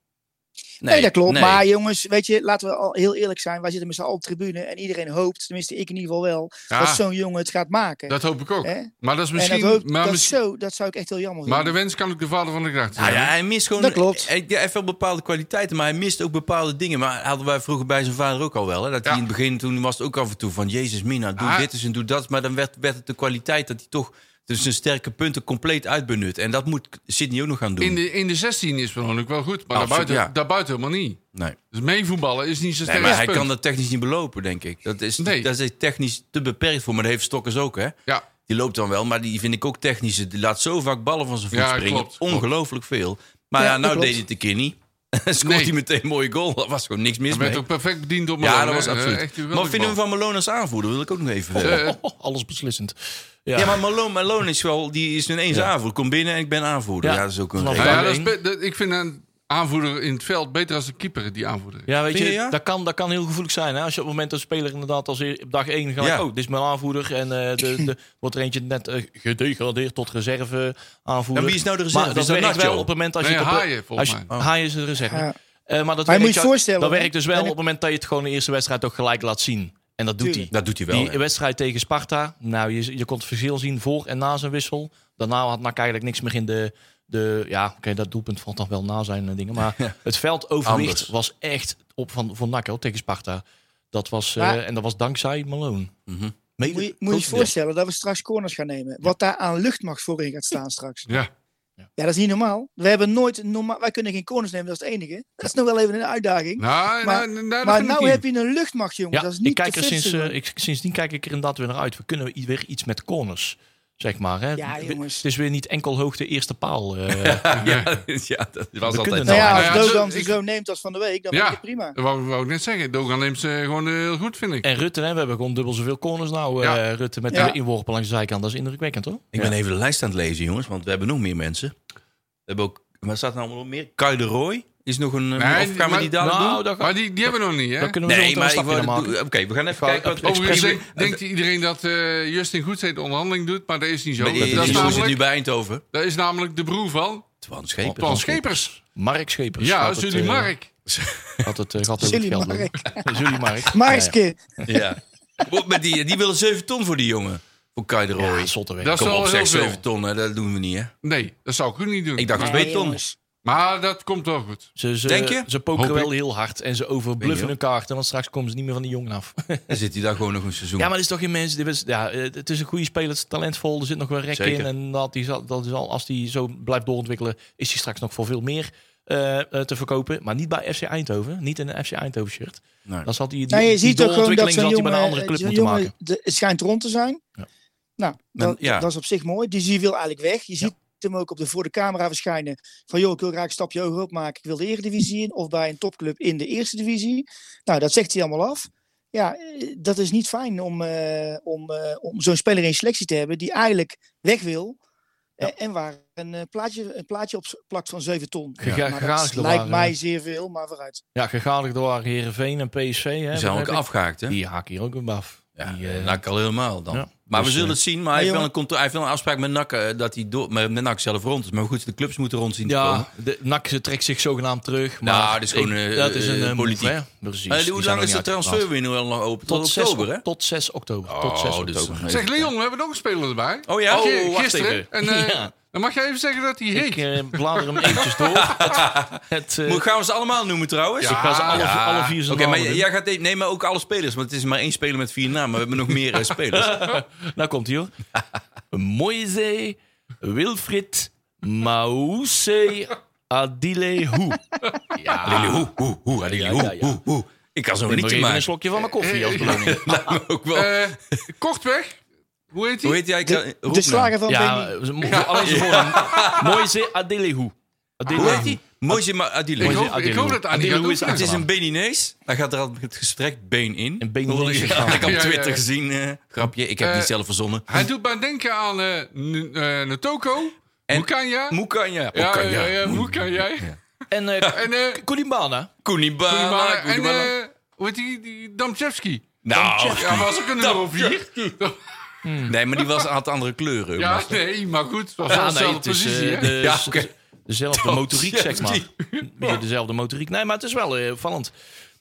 F: Nee, dat klopt.
C: nee.
F: Maar jongens, weet je, laten we al heel eerlijk zijn. Wij zitten met z'n allen op de tribune en iedereen hoopt, tenminste ik in ieder geval wel, dat
E: Ja,
F: zo'n jongen het gaat maken.
E: dat hoop ik ook.
F: Hè?
E: Maar dat is
F: En
E: misschien...
F: dat, hoop-
E: maar,
F: dat,
E: misschien-
F: zo, dat zou ik echt heel jammer vinden.
E: maar de wens kan ook de vader van de kracht
C: Nou ja, hij mist gewoon.
F: Dat klopt.
C: Hij, hij heeft wel bepaalde kwaliteiten, maar hij mist ook bepaalde dingen. Maar hadden wij vroeger bij zijn vader ook al wel. Hè? Dat hij
E: Ja.
C: in het begin, toen was het ook af en toe van... Jezus Mina, doe
E: Ah.
C: dit eens en doe dat. Maar dan werd, werd het de kwaliteit dat hij toch dus zijn sterke punten compleet uitbenut. En dat moet Sidney ook nog gaan doen.
E: In de, in de 16 is Verloonlijk wel goed, maar
C: Absoluut,
E: daarbuiten,
C: ja.
E: daarbuiten helemaal niet.
C: Nee.
E: Dus meevoetballen is niet zijn
C: nee,
E: sterkste
C: maar hij
E: punt.
C: kan dat technisch niet belopen, denk ik. Dat is,
E: Nee.
C: dat is technisch te beperkt voor. Maar dat heeft Stokkers ook, hè?
E: Ja,
C: Die loopt dan wel, maar die vind ik ook technisch. Die laat zo vaak ballen van zijn voet
E: Ja,
C: springen.
E: klopt, klopt.
C: Ongelooflijk veel. Maar
F: Ja,
C: ja,
F: dat
C: nou
F: klopt.
C: deed hij het een keer niet. Scoort
E: Nee.
C: hij meteen een mooie goal. Dat was gewoon niks mis
E: hij
C: mee.
E: werd ook perfect bediend door Malone.
C: Ja, dat was
E: hè. Eh,
C: absoluut.
E: echt een
C: maar wat vinden we
E: wereldbal.
C: van Malone als aanvoerder? Wil ik ook nog even weten.
E: Eh,
D: Oh, alles beslissend.
C: ja.
D: Ja,
C: maar Malone, Malone is wel, die is ineens aanvoerder. Kom binnen en ik ben aanvoerder. Ja,
D: Ja.
C: dat is ook een
D: Vanaf
E: Nou
C: reden.
E: ja,
D: Alleen.
E: dat is be- dat- ik vind een aanvoerder in het veld beter als een keeper die aanvoerder is.
D: Ja, weet
C: Vind
D: je,
C: je, ja?
D: Dat, kan, dat kan heel gevoelig zijn. Hè? Als je op het moment dat een speler inderdaad als e- op dag 1 gaat,
C: Ja.
D: oh, dit is mijn aanvoerder. En eh, de, de, wordt er eentje net eh, gedegradeerd tot reserve aanvoerder.
C: En wie is nou de reserve?
D: Maar
C: Is
D: dat
C: dat
D: werkt
C: Nacho?
D: wel op het moment als
E: Nee,
D: je... het op-
E: Haaien, volgens
D: als je-
C: Oh.
E: mij.
D: Haaien is de reserve.
F: Ja.
D: Eh, maar dat
F: Maar je
D: werkt
F: moet je
D: jou-
F: voorstellen,
D: Dat
F: hè?
D: werkt dus wel
F: En-
D: op het moment dat je het gewoon in de eerste wedstrijd ook gelijk laat zien. En dat doet hij.
F: Tuurlijk.
C: Dat doet hij wel.
D: Die
C: hè.
D: wedstrijd tegen Sparta, nou, je, je kon het verschil zien voor en na zijn wissel. Daarna had Nak eigenlijk niks meer in de... de ja, oké, dat doelpunt valt nog wel na zijn eh, dingen. Maar het veldoverwicht
C: Anders.
D: was echt op van, voor NAC hoor, tegen Sparta. Dat was, eh,
F: Maar-
D: en dat was dankzij Malone.
C: Mhm.
D: Mede-
F: Moet je moet je
D: groot-
F: je voorstellen dat we straks corners gaan nemen. Wat daar aan luchtmacht voorin gaat staan straks.
E: Ja.
F: Ja, dat is niet normaal. We hebben nooit normaal. Wij kunnen geen corners nemen, dat is het enige. Dat is nog wel even een uitdaging.
E: Nou,
F: Maar-
E: nou, nou, dat
F: maar
E: vind ik
F: nou
E: niet.
F: heb je een luchtmacht, jongen.
D: Ja,
F: dat is
D: ik
F: niet
D: kijk
F: te
D: er sinds,
F: flitsen,
D: eh,
F: hoor.
D: ik, sindsdien kijk ik er inderdaad weer naar uit. We kunnen i- weer iets met corners, zeg maar. Hè?
F: Ja,
D: We-
F: jongens.
D: Het is weer niet enkel hoogte eerste paal. eh.
C: ja, ja, dat was altijd
D: kunnen
C: zo.
F: nou ja,
E: Nou
F: als
E: ja,
F: Dogan
E: zo-
F: die
E: ik-
F: zo neemt als van de week, dan
E: Ja.
F: vind ik het prima.
E: Dat wou, wou ik net zeggen. Dogan neemt ze gewoon eh, heel goed, vind ik.
D: en Rutte, hè, we hebben gewoon dubbel zoveel corners nou. eh,
E: Ja.
D: Rutte met
F: Ja.
D: de inworpen langs de zijkant, dat is indrukwekkend hoor.
C: Ik ben even de lijst aan het lezen, jongens. Want we hebben nog meer mensen. We hebben ook... Waar staat er nou nog meer? Kai de Roy is nog een... eh,
E: Nee,
C: of gaan we
E: maar-
C: die dadelijk
D: nou,
C: doen?
D: dat
E: Maar die, die hebben we nog niet, hè?
D: Dan kunnen we
C: Nee,
D: zo maar
C: maar
D: een
C: ik
D: stapje naar
C: wou...
D: maken.
C: Oké, we gaan even
D: Ga-
C: kijken. wat-
E: Overigens
C: express-
E: denkt, denkt iedereen dat eh, Justin Goedzee de onderhandeling doet, maar dat is niet zo.
C: Nee,
E: dat,
C: die-
E: is
C: die jongen zit nu
E: namelijk,
C: bij Eindhoven.
E: dat is namelijk de broer van
C: Twan Schepen.
E: Twan Schepers.
D: Mark Schepers.
E: Ja,
D: had
E: dat is
D: het,
E: jullie
D: eh,
E: Mark.
D: Had het, eh, had het
F: Jullie
D: geld
F: Mark.
D: doen. Jullie Mark. Ja,
F: Markske,
C: Ja. Wat met die, die willen 7 ton voor die jongen. Voor Kai de Roy.
D: ja. Ja, zotte werk.
E: Dat is
C: Kom
E: wel
C: op,
E: heel
C: zeg
E: veel.
C: 7 ton. Hè. Dat doen we niet, hè?
E: Nee, dat zou ik ook niet doen.
C: Ik dacht
E: maar,
C: 2 ton.
F: jongens.
E: maar dat komt wel goed.
D: Ze, ze,
C: Denk je?
D: Ze
E: Hoop
D: pokeren
E: ik.
D: wel heel hard en ze
C: Weet je
D: overbluffen
C: wel.
D: hun kaarten, want straks komen ze niet meer van die jongen af.
C: Dan zit hij daar gewoon nog een seizoen.
D: Ja, maar dit is toch geen mensen. Dit is, ja, eh, het is een goede speler, het is talentvol, er zit nog wel rek
C: Zeker.
D: in. En dat, die zal, dat is al, als hij zo blijft doorontwikkelen, is hij straks nog voor veel meer eh, eh, te verkopen. Maar niet bij FC Eindhoven, niet in een FC Eindhoven shirt.
C: Nee.
D: Dan zal hij die,
F: Nou, je
D: die
F: ziet ook gewoon dat
D: doorontwikkeling
F: zo'n
D: zal hij bij een andere
F: jongen, eh,
D: club
F: zo'n
D: moeten maken.
F: jongen de- het schijnt rond te zijn.
D: Ja.
F: Nou,
C: Dan-
F: dat,
C: ja.
F: dat is op zich mooi. Die zie je wil eigenlijk weg. Je ziet hem ook op de, voor de camera verschijnen. Van joh, ik wil graag een stapje hoger opmaken. Ik wil de Eredivisie in. Of bij een topclub in de Eerste Divisie. Nou, dat zegt hij allemaal af. Ja, eh, dat is niet fijn om, eh, om, eh, om zo'n speler in selectie te hebben die eigenlijk weg wil. eh, En waar een, eh, plaatje, een plaatje op s- plakt van 7 ton.
D: Gega-
F: Maar dat
D: gegadigd
F: lijkt
D: waren,
F: mij
D: eh.
F: zeer veel, maar vooruit.
D: Ja, gegadigd door Herenveen en PSV. Hè,
C: Die zijn ook
D: begrijp ik.
C: afgehaakt, hè?
D: Die haak hier ook weer af.
C: Ja,
D: Die, eh,
C: NAC al helemaal dan.
D: ja.
C: Maar we
D: Dus,
C: zullen
D: eh,
C: het zien. Maar hij
F: maar
C: heeft, wel
F: jongen-
C: een, contra- hij heeft wel een afspraak met NAC eh, dat hij door, met, met NAC zelf rond is. Maar goed, de clubs moeten rond zien te komen.
D: ja, de NAC ze trekt zich zogenaamd terug. Maar
C: Nou, dat is gewoon,
D: ik-
C: eh,
D: dat is een
C: eh,
D: eh, move,
C: politiek.
D: hè. Precies.
C: Eh,
D: Die
C: hoe lang
D: zijn nog
C: is de
D: niet uitgepraat.
C: transferwindow nog open? Tot,
D: Tot 6
C: oktober, hè?
D: oktober? Tot 6 oktober. tot 6
C: Oh, dus-
D: oktober.
E: Zeg Leon, we hebben nog een speler erbij.
C: Oh ja?
E: Ge-
C: Oh, wacht
E: gisteren.
C: even.
E: En, eh,
D: Ja.
E: Dan mag jij even zeggen dat hij heet.
D: Ik eh, blader hem eventjes door. Het, eh,
C: Moet- Gaan we ze allemaal noemen trouwens?
E: Ja.
D: ik ga ze alle,
E: Ja.
D: alle vier
C: Oké,
D: zijn
C: maar
D: namen
C: jij
D: doen.
C: jij gaat even, nee, maar ook alle spelers. Want het is maar één speler met vier namen. We hebben nog meer eh, spelers.
D: Nou komt hij hoor. Moise, Wilfried, Mause, Adile Hoe.
C: Adili, hoe, hoe, hoe, Adili,
D: Ja, ja,
C: hoe,
D: ja.
C: hoe, hoe. Ik kan zo'n
D: Nog
C: liedje
D: even een
C: maken.
D: slokje van mijn koffie als beloning.
C: Lijkt me ook wel.
E: Eh, Kortweg, hoe heet
C: Hoe
E: hij?
C: heet jij? Ik-
F: De,
C: roep
F: de
C: nou.
F: slager van
D: Ja,
F: Benny.
D: eh, mo- alleen zijn voornaam. Moise Adelehu.
C: Hoe
D: Adelehu.
C: heet die? Moise Ma- Adile.
E: Ik
D: Mooi,
E: hoop, ik
D: Adil.
E: hoop dat Annie
D: Adil,
E: gaat
D: hoe is
E: oefenen.
D: het?
C: Het is een Beninees. Daar gaat er altijd het gestrekt been in.
D: Een Beninese
C: Hoorde je-
D: grap.
C: Had ik op
E: Ja, ja, ja.
C: Twitter gezien. eh, grapje, ik heb
E: Eh,
C: die zelf verzonnen.
E: Hij doet mij denken aan eh N- eh, Natoko,
C: En-
E: Mukanya.
C: Moekanja.
E: Ja,
C: Oekanja.
E: ja, ja, Mukanya.
D: En eh
E: En, eh,
D: Koulibaly.
C: Koenibana.
E: en
C: Koenibana.
E: eh, hoe heet die? die Damchevski.
C: Nou,
E: Ja, was ook een nummer op vier.
C: nee, maar die was, had andere kleuren.
E: Ja,
C: maar-
E: nee, maar goed. Het was
D: Ah,
E: wel dezelfde positie,
D: eh,
E: hè?
D: de-
C: ja oké.
D: dezelfde
C: Tom
D: motoriek, zeg maar. Een beetje dezelfde motoriek. Nee, maar het is wel eh, opvallend.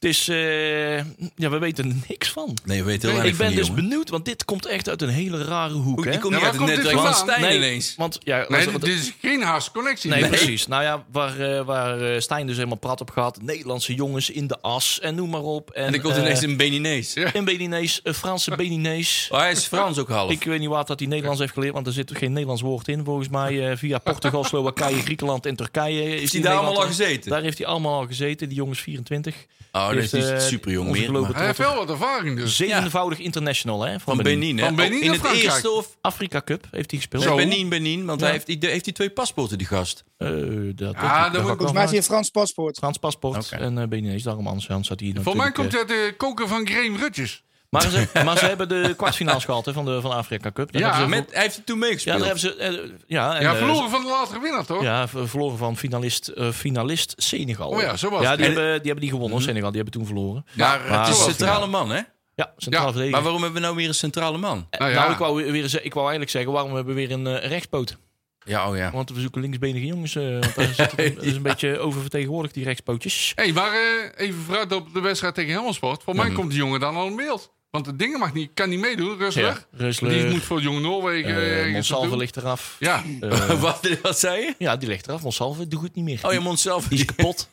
D: Het is... eh, ja, we weten er niks van.
C: Nee, we weten heel
E: Nee,
C: weinig
D: Ik ben
C: van die
D: dus
C: jongen.
D: benieuwd, want dit komt echt uit een hele rare hoek, hè?
C: Die komt niet
E: Ja, waar
C: uit het
E: komt dit
C: netwerk van
E: vandaan?
C: Stijn
D: Nee,
C: ineens.
D: Want, ja,
E: Nee,
D: want-
E: dit dit is geen haast connectie.
D: Nee, precies. Nou ja, waar, eh, waar eh, Stijn dus helemaal prat op gaat. Nederlandse jongens in de as en noem maar op. En,
C: En ik komt
D: eh,
C: ineens een Beninees.
D: een Beninees, een Franse Beninees.
C: Oh, hij is Frans ook half.
D: Ik weet niet waar dat hij Nederlands heeft geleerd, want er zit geen Nederlands woord in. Volgens mij eh, via Portugal, Slowakije, Griekenland en Turkije. Is
C: Is hij daar allemaal al
D: Nederland-
C: gezeten?
D: Daar heeft hij allemaal al gezeten, die jongens 24.
C: Oh, dat is
D: Heeft,
C: niet
D: eh,
C: super jong
D: onze
C: meer.
D: globe
C: maar-
E: Hij heeft wel wat ervaring dus.
D: Zevenvoudig international, hè? Van,
C: Van
D: Benin.
C: Benin, hè?
E: Van Benin
C: Oh, In
E: naar
C: het
E: Frankrijk.
C: eerste of...
D: Afrika Cup heeft hij gespeeld.
C: Nee, Benin, Benin. Want
D: Ja.
C: hij heeft, die- heeft die twee paspoorten, die gast.
D: Eh, dat,
E: Ja,
D: dat-
E: dan
D: dat
E: moet-
D: ga ik wel
F: Volgens mij heeft hij een Frans paspoort.
D: Frans paspoort
C: Oké.
D: en eh Beninees. Daarom anders anders zat hij hier
E: Voor mij
D: natuurlijk,
E: komt het uit de koken van Graham Rutjes.
D: eh, maar, ze, maar ze hebben de kwartfinales gehad hè, van de van de Afrika Cup. Daar
E: Ja,
D: hebben ze
C: Met, hij heeft er toen
D: Ja, daar
C: meegespeeld.
D: hebben ze. eh, ja, en,
E: Ja,
D: eh,
E: verloren van de latere winnaar, toch?
D: Ja, ver- verloren van finalist, eh, finalist Senegal.
E: Oh ja, zo was
D: ja,
E: het. Mhm.
D: die,
E: En-
D: hebben, die hebben die gewonnen, Senegal. Die hebben toen verloren.
E: Maar
C: het
D: Ah,
C: is
E: was-
C: een centrale man, hè?
D: Ja, centraal
E: Ja,
D: verdediger.
C: Maar waarom hebben we nou weer een centrale man?
D: Eh,
E: Nou
D: nou,
E: ja.
D: ik, wou weer, ze- ik wou eigenlijk zeggen, waarom hebben we weer een eh, rechtspoot?
C: Ja, oh ja.
D: Want we zoeken linksbenige jongens. eh, want daar zit- dat is een beetje oververtegenwoordigd, die rechtspootjes.
E: Hé, maar eh, even vooruit op de wedstrijd tegen Helmersport. Voor mij komt die jongen dan al in beeld. Want de dingen mag niet, kan niet meedoen, rustig.
D: Ja, Rusler,
E: Die moet voor Jong Noorwegen
D: eh,
E: ergens
D: Monsalve
E: naartoe.
D: ligt eraf.
E: Ja,
D: Eh,
C: wat, wat zei je?
D: ja, die ligt eraf. Monsalve doet goed niet meer.
C: Oh ja, Monsalve.
D: Die is kapot.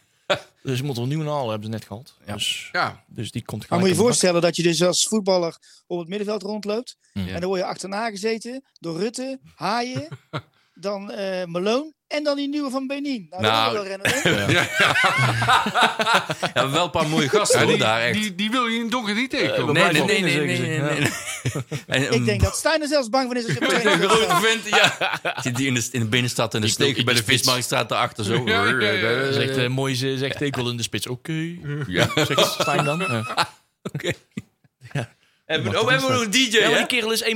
D: dus ze moeten we een nieuwe halen, hebben ze net gehad.
C: Ja.
D: Dus,
E: ja.
D: dus die komt
F: Maar
D: gelijk
F: Ah, moet je
D: aan de bak.
F: voorstellen dat je dus als voetballer op het middenveld rondloopt.
D: Ja.
F: En dan word je achterna gezeten door Rutte, Haaien, dan eh Malone en dan die nieuwe van Benin. Nou, dat
C: Nou,
F: wil wel rennen. hè?
C: Ja, wel een paar mooie gasten
E: Ja,
C: hoor,
E: die,
C: daar echt.
E: die, die wil je in het donker niet tegenkomen.
C: nee,
D: blijven
C: nee,
D: op
C: nee,
D: winnen,
C: nee, nee,
D: zeggen
C: nee,
D: ze.
C: nee. En, um,
F: Ik denk dat Stijn er zelfs bang van is. Als je
C: Een
F: hem
C: grote vent, ja. Zit die in de, in de binnenstad en dan steek je bij de vismarktstraat daarachter zo.
E: Ja, ja, ja, ja.
D: Zegt eh, mooi, ze- zegt Tekel in de spits. Oké.
C: Ja.
D: Zegt Stijn dan. Ja.
C: Oké. Hebben we- Oh, we hebben nog een DJ,
D: Ja, maar
C: hè?
D: die kerel is 1,93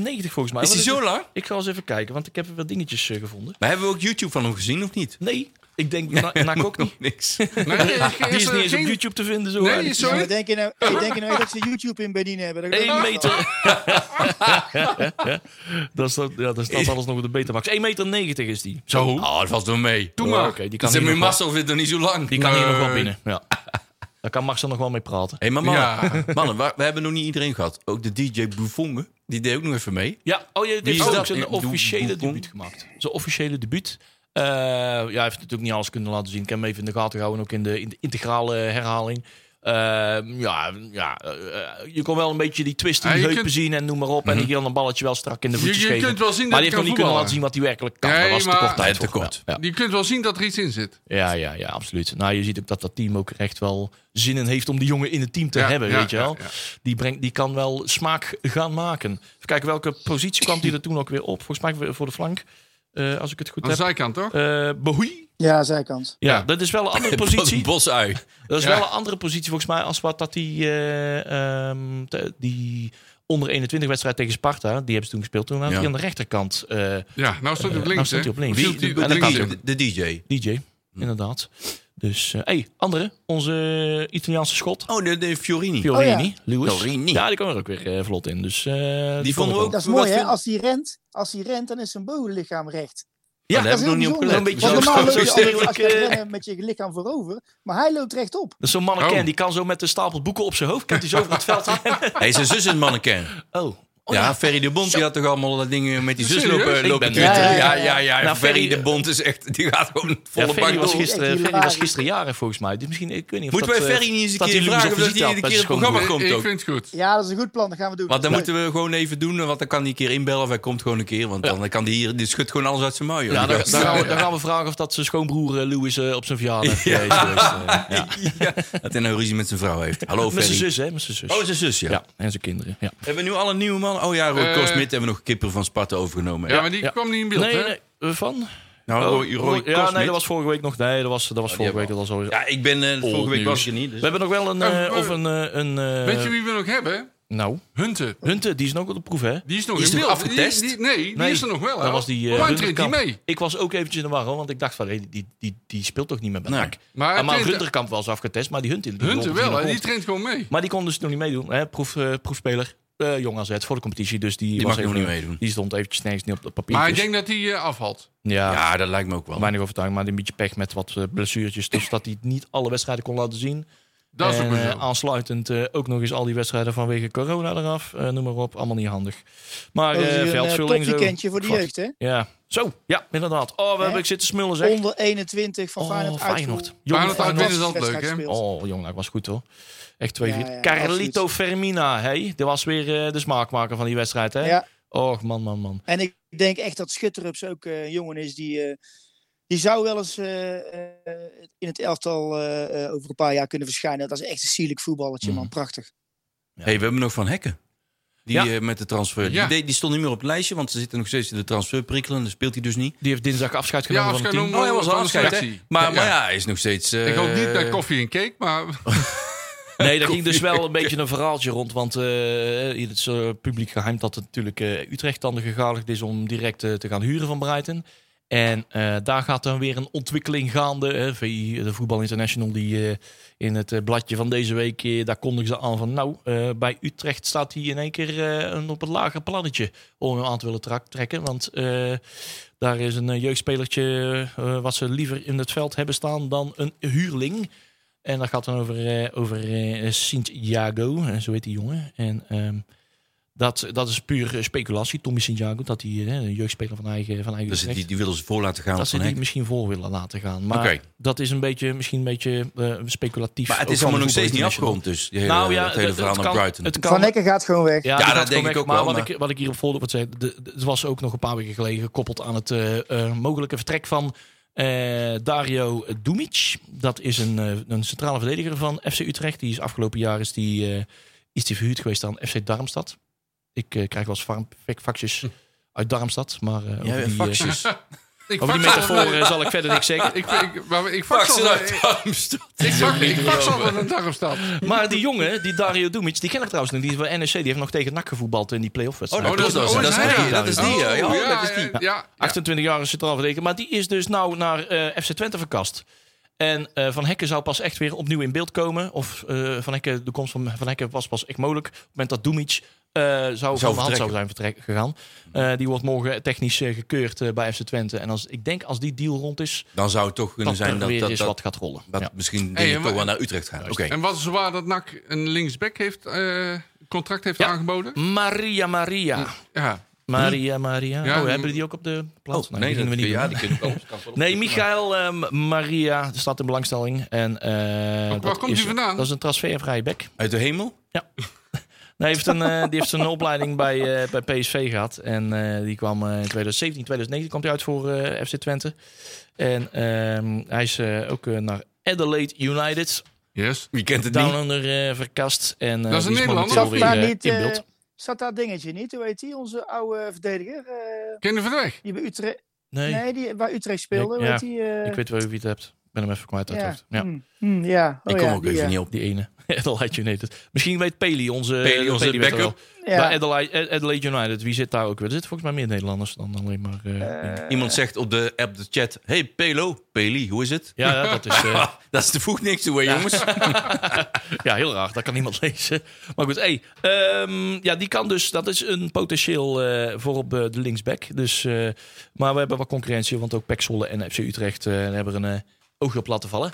D: meter volgens mij.
C: Is
D: Wat
C: die zo lang?
D: Ik ga eens even kijken, want ik heb er wat dingetjes eh, gevonden.
C: Maar hebben we ook YouTube van hem gezien of niet?
D: Nee, ik denk na, Nak ook niet.
C: Niks.
E: Nee, is,
D: Die is
E: er
D: niet eens op
E: geen-
D: YouTube te vinden. Zo
E: Nee,
D: eigenlijk.
E: is zo.
F: Ik denk je nou, hey, denk je nou echt dat ze YouTube in Benin hebben. Dat-
D: 1 meter. dat is dat, ja, dat staat alles nog op de Betamax. 1,90 meter is die.
E: Zo.
C: Oh, dat valt wel mee.
E: Doe
D: Oh,
E: maar.
D: Oké, die kan
C: Dat zijn
D: hier
C: Dus mijn
D: nog wel-
C: massa vindt er niet zo lang.
D: Die kan hier nog wel
E: Eh.
D: binnen. Ja. Daar kan Marcel nog wel mee praten.
C: Hé, maar mannen,
E: Ja.
C: mannen waar- we hebben nog niet iedereen gehad. Ook de DJ Boufonge, die deed ook nog even mee.
D: Ja, oh, je
C: Wie
D: heeft
C: is
D: ook
C: dat?
D: zijn
C: Ik bedoel,
D: officiële
C: Buffon?
D: debuut gemaakt. Zijn officiële debuut. Eh, ja, hij heeft natuurlijk niet alles kunnen laten zien. Ik heb hem even in de gaten gehouden, ook in de, in de integrale herhaling. Eh, ja, ja eh, eh, je kon wel een beetje die twist in
E: Ja,
D: die
E: je
D: heupen
E: kunt- Mhm.
D: zien en noem maar op. En die kan een balletje wel strak in de
E: Je-
D: voetjes
E: je
D: geven.
E: kunt wel zien
D: maar
E: dat
D: die
E: hij
D: heeft nog
E: kan
D: niet kunnen
E: voetballen.
D: laten zien wat hij werkelijk kan. Daar
E: Nee,
D: was te
E: maar-
D: kort
C: Nee,
D: tijd
C: te
D: voor.
C: kort.
D: Ja, ja.
E: Je kunt wel zien dat er iets in zit.
D: Ja, ja, ja, absoluut. Nou, je ziet ook dat dat team ook echt wel zin in heeft om die jongen in het team te
E: Ja,
D: hebben,
E: ja,
D: weet je
E: ja,
D: wel.
E: ja.
D: Die, brengt, die kan wel smaak gaan maken. Even kijken, welke positie kwam die er toen ook weer op? Volgens mij voor de flank, eh, als ik het goed
E: Aan de
D: heb.
E: zijkant, toch?
D: Eh Behoei.
F: Ja, zijkant.
D: Ja,
E: Ja.
D: dat is wel een andere
C: Een
D: positie.
C: bosui.
D: Dat is
E: Ja.
D: wel een andere positie volgens mij als wat dat die, eh, ehm, te- die onder 21 wedstrijd tegen Sparta, die hebben ze toen gespeeld. Toen had
C: Ja.
D: hij aan de rechterkant eh,
E: Ja, nou staat hij op
D: nou
E: links, hè?
D: staat hij op links.
E: Viel
D: Wie-
E: hij op
D: en dan
E: links
D: kan hij
C: De,
E: in.
C: de DJ.
D: DJ, inderdaad. Dus, eh hey, andere, onze Italiaanse schot.
C: Oh, de, de Fiorini.
D: Fiorini,
F: Oh
D: Lewis.
C: Fiorini.
D: Ja, die kwam er ook weer eh, vlot in. Dus, eh,
C: Die
D: vond ik
C: vonden we ook...
F: Dat is
C: wat
F: mooi, hè?
C: vind-
F: Als hij rent, als hij rent dan is zijn bovenlichaam recht.
C: Ja,
F: dat
C: daar heb
F: is
C: ik nog niet
F: heel
C: op
F: bijzonder.
C: gelet.
D: Een beetje
F: Want
D: Zo-
F: normaal
D: zo
F: loop je altijd,
D: sterk,
F: als je gaat
D: eh.
F: rennen met je lichaam voorover. Maar hij loopt rechtop.
D: Dat is zo'n manneken,
E: Oh.
C: Oh.
D: die kan zo met een stapel boeken op zijn hoofd, kan hij zo over het veld rennen.
C: Hij is zijn zus in het manneken.
D: Oh,
C: ja, Ferry de Bond die had toch allemaal dat dingen met die zus
E: Serieus?
C: lopen,
E: Ik
C: lopen
D: ben-
C: twitteren. Ja,
F: Ja,
C: ja,
F: ja,
C: ja.
D: Nou,
C: Ferry
D: Ferry-
C: de Bond is echt, die gaat gewoon volle
D: Ja,
C: bak
D: Ferry,
C: door.
D: was gisteren,
F: Echt
D: Ferry was
F: hilarisch.
D: gisteren jarig volgens mij. Ik- Misschien, ik weet niet of
C: Moeten
D: dat,
C: wij
D: eh,
C: Ferry niet eens een
D: dat
C: keer
D: hij Lumens
C: vragen
D: op
C: of dat
D: visite
C: hij
D: had
C: een
D: bij
C: keer
D: zijn
C: het programma komt
D: schoonmoeder?
E: ik
C: ook.
E: vind het goed.
F: Ja, dat is een goed plan. Dat gaan we doen.
C: Want dan
F: Ja.
C: moeten we gewoon even doen, want dan kan hij een keer inbellen of hij komt gewoon een keer. Want dan kan hij hier, die schudt gewoon alles uit zijn mouw. joh.
D: Ja,
C: Die
D: dan,
C: gast.
D: dan gaan we, dan gaan we vragen of dat zijn schoonbroer eh, Louis eh, op zijn verjaardag
C: Ja.
D: eh, is geweest. eh. ja.
C: Ja, dat hij een ruzie met zijn vrouw heeft. Hallo
D: Met zijn
C: Ferry.
D: zus, hè? Met zijn zus.
C: Oh, zijn zus, ja.
D: ja, en zijn kinderen. Ja.
C: Hebben we nu alle nieuwe mannen? Oh ja, Roy
E: Eh.
C: Korsmit hebben we nog kipper van Sparta overgenomen.
E: Ja, maar die
D: ja.
E: kwam niet in beeld,
D: Nee,
E: hè? Oh,
D: nee, eh, van?
C: nou, Roy, Roy
D: ja,
C: Korsmit.
D: nee, dat was vorige week nog. Nee, dat was, dat
E: Oh,
D: was vorige
C: hebben
D: week. Dat was al...
C: Ja, ik ben eh,
D: Oh,
C: vorige week was ik er niet.
D: We
C: Dus.
D: hebben nog wel een...
E: Eh,
D: eh,
E: eh,
D: of een, eh, een eh,
E: Weet je wie we nog hebben?
D: Nou,
E: Hunten.
D: Hunte, die is nog op de proef, hè?
E: Die is nog
C: Is
E: in
C: die
E: beeld.
C: afgetest?
E: Die, die- nee, die is er nog wel.
D: Dat was die, eh,
E: Waarom
D: Runderkamp.
E: treedt die mee?
D: Ik was ook eventjes in de war, hoor, want ik dacht van, hé, die, die, die speelt toch niet meer bij
C: Nee.
D: NAC?
E: Maar
D: Maar, maar
E: het-
D: Hunterkamp was afgetest, maar die Hunte... Die
E: Hunten
D: loopt
E: wel,
D: hier
E: hè?
D: nog
E: Die
D: rond.
E: traint gewoon mee.
D: Maar die kon dus nog niet meedoen, hè? Proef, eh, proefspeler. eh jong AZ voor de competitie, dus die, was
C: mag nog
D: even-
C: niet meedoen.
D: Die stond eventjes nergens niet op het papier.
E: Maar
C: dus-
E: ik denk dat hij eh, afvalt.
D: ja,
C: Ja, dat lijkt me ook wel.
D: weinig overtuiging, maar een beetje pech met wat eh, blessuurtjes. Dus dat hij niet alle wedstrijden kon laten zien.
E: Dat is
D: en,
E: ook wel
D: eh,
E: zo.
D: aansluitend eh, ook nog eens al die wedstrijden vanwege corona eraf. Eh, noem maar op, allemaal niet handig. Maar
F: Dat is
D: eh
F: hier een eh,
D: veldsvulling zo.
F: topweekendje voor de
D: Fuck.
F: jeugd, hè?
D: Ja, zo. Ja, inderdaad. Oh, we hebben ik zitten smullen zeg.
F: Onder 21 van
D: Oh,
F: Feyenoord uit.
D: Feyenoord.
E: Feyenoord uit
D: Feyenoord.
E: winnen is altijd leuk, hè?
D: Oh, jong, dat was goed hoor. Echt twee
F: Ja,
D: vier.
F: ja,
D: Carlito
F: absoluut.
D: Fermina, hé. Dat was weer eh, de smaakmaker van die wedstrijd, hè?
F: Ja,
D: Och, man, man, man.
F: en ik denk echt dat Schutterups ook eh, een jongen is die... eh, die zou wel eens eh, eh, in het elftal eh, eh, over een paar jaar kunnen verschijnen. Dat is echt een sierlijk voetballetje,
D: Mm.
F: man. Prachtig.
C: hey, we hebben nog Van Hekken. Die
D: Ja.
C: eh, met de transfer.
E: Ja.
C: Die, deed- die stond niet meer op het lijstje, want ze zitten nog steeds in de transferprikkel en dat speelt hij dus niet.
D: Die heeft dinsdag afscheid
E: Ja,
D: genomen van het
E: afscheid
D: team.
E: noemen
C: Oh,
E: we
C: hij was
E: eh, van de
C: afscheid, hè?
E: selectie.
C: Maar,
E: Ja.
C: maar ja, hij is nog steeds... eh,
E: Ik hoop niet naar koffie en cake, maar
D: Nee, daar ging dus wel een beetje een verhaaltje rond. Want eh, het is eh, publiek geheim dat het natuurlijk eh, Utrecht dan de gegadigd is om direct eh, te gaan huren van Breiten. En eh, daar gaat dan weer een ontwikkeling gaande. hè. VI, de Voetbal International, die eh, in het eh, bladje van deze week, eh, daar kondigen ze aan van... Nou, eh, bij Utrecht staat hij in één keer eh, een, op een lager plannetje om hem aan te willen tra- trekken. Want eh, daar is een eh, jeugdspelertje eh, wat ze liever in het veld hebben staan dan een huurling. En dat gaat dan over, eh, over eh, Santiago, eh, zo heet die jongen. En ehm, dat, dat is puur eh, speculatie, Tommy Santiago, dat hij eh, een jeugdspeler van eigen, van eigen
C: Dus
D: Utrecht,
C: die, die willen ze voor laten gaan.
D: dat ze
C: van
D: die
C: Hekken.
D: misschien voor willen laten gaan. Maar
C: Oké.
D: dat is een beetje, misschien een beetje eh, speculatief.
C: Maar het
D: ook
C: is
D: van
C: allemaal nog
D: de Voetbal
C: steeds niet
D: International.
C: afgerond, dus. die hele-
D: Nou ja,
C: het hele
D: het-
C: verhaal
D: het
C: naar
D: kan-
C: Brighton.
D: het kan-
F: Van Nekken gaat gewoon weg.
D: Ja,
C: Ja,
D: die
C: dat
D: gaat
C: denk
D: gewoon
C: ik
D: weg.
C: ook
D: maar
C: wel,
D: Wat,
C: maar-
D: ik, wat ik hier op Volder wat zei, de- de- het was ook nog een paar weken geleden gekoppeld aan het eh, eh, mogelijke vertrek van eh, Dario Dumic. Dat is een, eh, een centrale verdediger van FC Utrecht. Die is afgelopen jaar is die, eh, is die verhuurd geweest aan FC Darmstad. Ik eh, krijg wel eens farm- fak- vakjes uit Darmstad, maar eh, over,
C: Hm. Ja,
D: die, eh,
C: faxjes.
E: ik
D: over die
E: fax al-
D: metafoor eh, zal ik verder niks zeggen.
E: Ik, ik, maar ik fax
C: Faxen
E: al-
C: uit Darmstadt.
E: ik fax- ik fax al wat een Darmstadt.
D: Maar die jongen, die Dario Dumic, die ken ik trouwens nog. Die is bij NEC, die heeft nog tegen NAC gevoetbald in die play-off wedstrijd.
C: Oh, dat is- dat is die, dat is die, eh, ja.
E: Oh,
C: Ja, dat is die.
E: ja, ja.
D: 28 jaar is centraal verdediger. Maar die is dus nou naar eh, FC Twente verkast. En eh, Van Hekken zou pas echt weer opnieuw in beeld komen. Of eh, Van Hekken, de komst van Van Hekken was pas echt mogelijk. Op het moment dat Dumic eh, zou van de hand zou
C: vertrekken. Mm.
D: zijn vertrek gegaan. Eh, die wordt morgen technisch eh, gekeurd eh, bij FC Twente. En als, ik denk als die deal rond is,
C: Dan zou het toch kunnen
D: dat
C: zijn
D: er
C: dat,
D: weer
C: dat,
D: eens
C: dat,
D: wat gaat rollen.
C: dat
D: Ja.
C: misschien
E: Hey,
C: dingen
E: en
C: toch
E: wa-
C: wel naar Utrecht gaan. Oké.
E: En wat is waar dat NAC een linksback heeft, eh, contract heeft
D: Ja.
E: aangeboden?
D: Maria, Maria.
C: Hm?
E: Ja.
D: Maria, Maria.
E: Ja,
D: oh,
E: die-
D: hebben die ook op de plaats? Nou,
C: Oh, nee,
D: die
C: dat,
D: gingen we niet
C: ja,
D: doen.
C: die kunnen we ook anders.
D: Nee, Michael ehm, Maria staat in belangstelling. En, eh, dat
E: komt
D: is-
E: die vandaan?
D: Dat is een transfervrije bek.
C: Uit de hemel?
D: Nee, hij heeft een, eh, die heeft een opleiding bij, eh, bij PSV gehad. En eh, die kwam eh, in 2017, 2019 kwam hij uit voor eh, FC Twente. En ehm, hij is eh, ook eh, naar Adelaide United,
E: Yes.
C: Wie kent het
D: Down
C: niet?
D: Under, eh, verkast. En, eh,
E: Dat is een
D: die
E: Nederlander.
D: momenteel
F: Zat daar,
D: weer, eh,
F: niet,
D: in
F: eh,
D: beeld.
F: zat daar dingetje niet? Hoe heet die? Onze oude verdediger. eh,
E: Kinderen van de weg.
F: die bij Utrecht...
D: nee,
F: Nee, die, waar Utrecht
D: Ja,
F: speelde. Hoe
D: ja.
F: heet die? eh,
D: ik weet wel wie het hebt. Ik ben hem even kwijt uit het
F: ja.
D: hoofd. Ja.
F: Hmm, hmm, ja. Oh,
C: Ik kom
F: ja,
C: ook
F: die,
C: even
F: ja.
C: niet op.
D: Die ene. Adelaide United. Misschien weet Peli, onze,
C: Peli, onze
D: weet
C: backup.
D: wel.
F: Ja.
D: Bij Adelaide, Adelaide United, wie zit daar ook weer? Er zitten volgens mij meer Nederlanders dan alleen maar... eh, dingen.
C: Iemand zegt op de app, de chat... Hey, Pelo, Peli, hoe is het?
D: ja, ja, dat is... eh,
C: Dat is de voeg niks toe, hè, jongens.
D: ja, heel raar. Dat kan niemand lezen. Maar goed, hey, ehm, ja, die kan dus... Dat is een potentieel eh, voor op eh, de linksback. Dus, eh, maar we hebben wat concurrentie, want ook Pek Zwolle en FC Utrecht eh, hebben er een eh, oogje op laten vallen.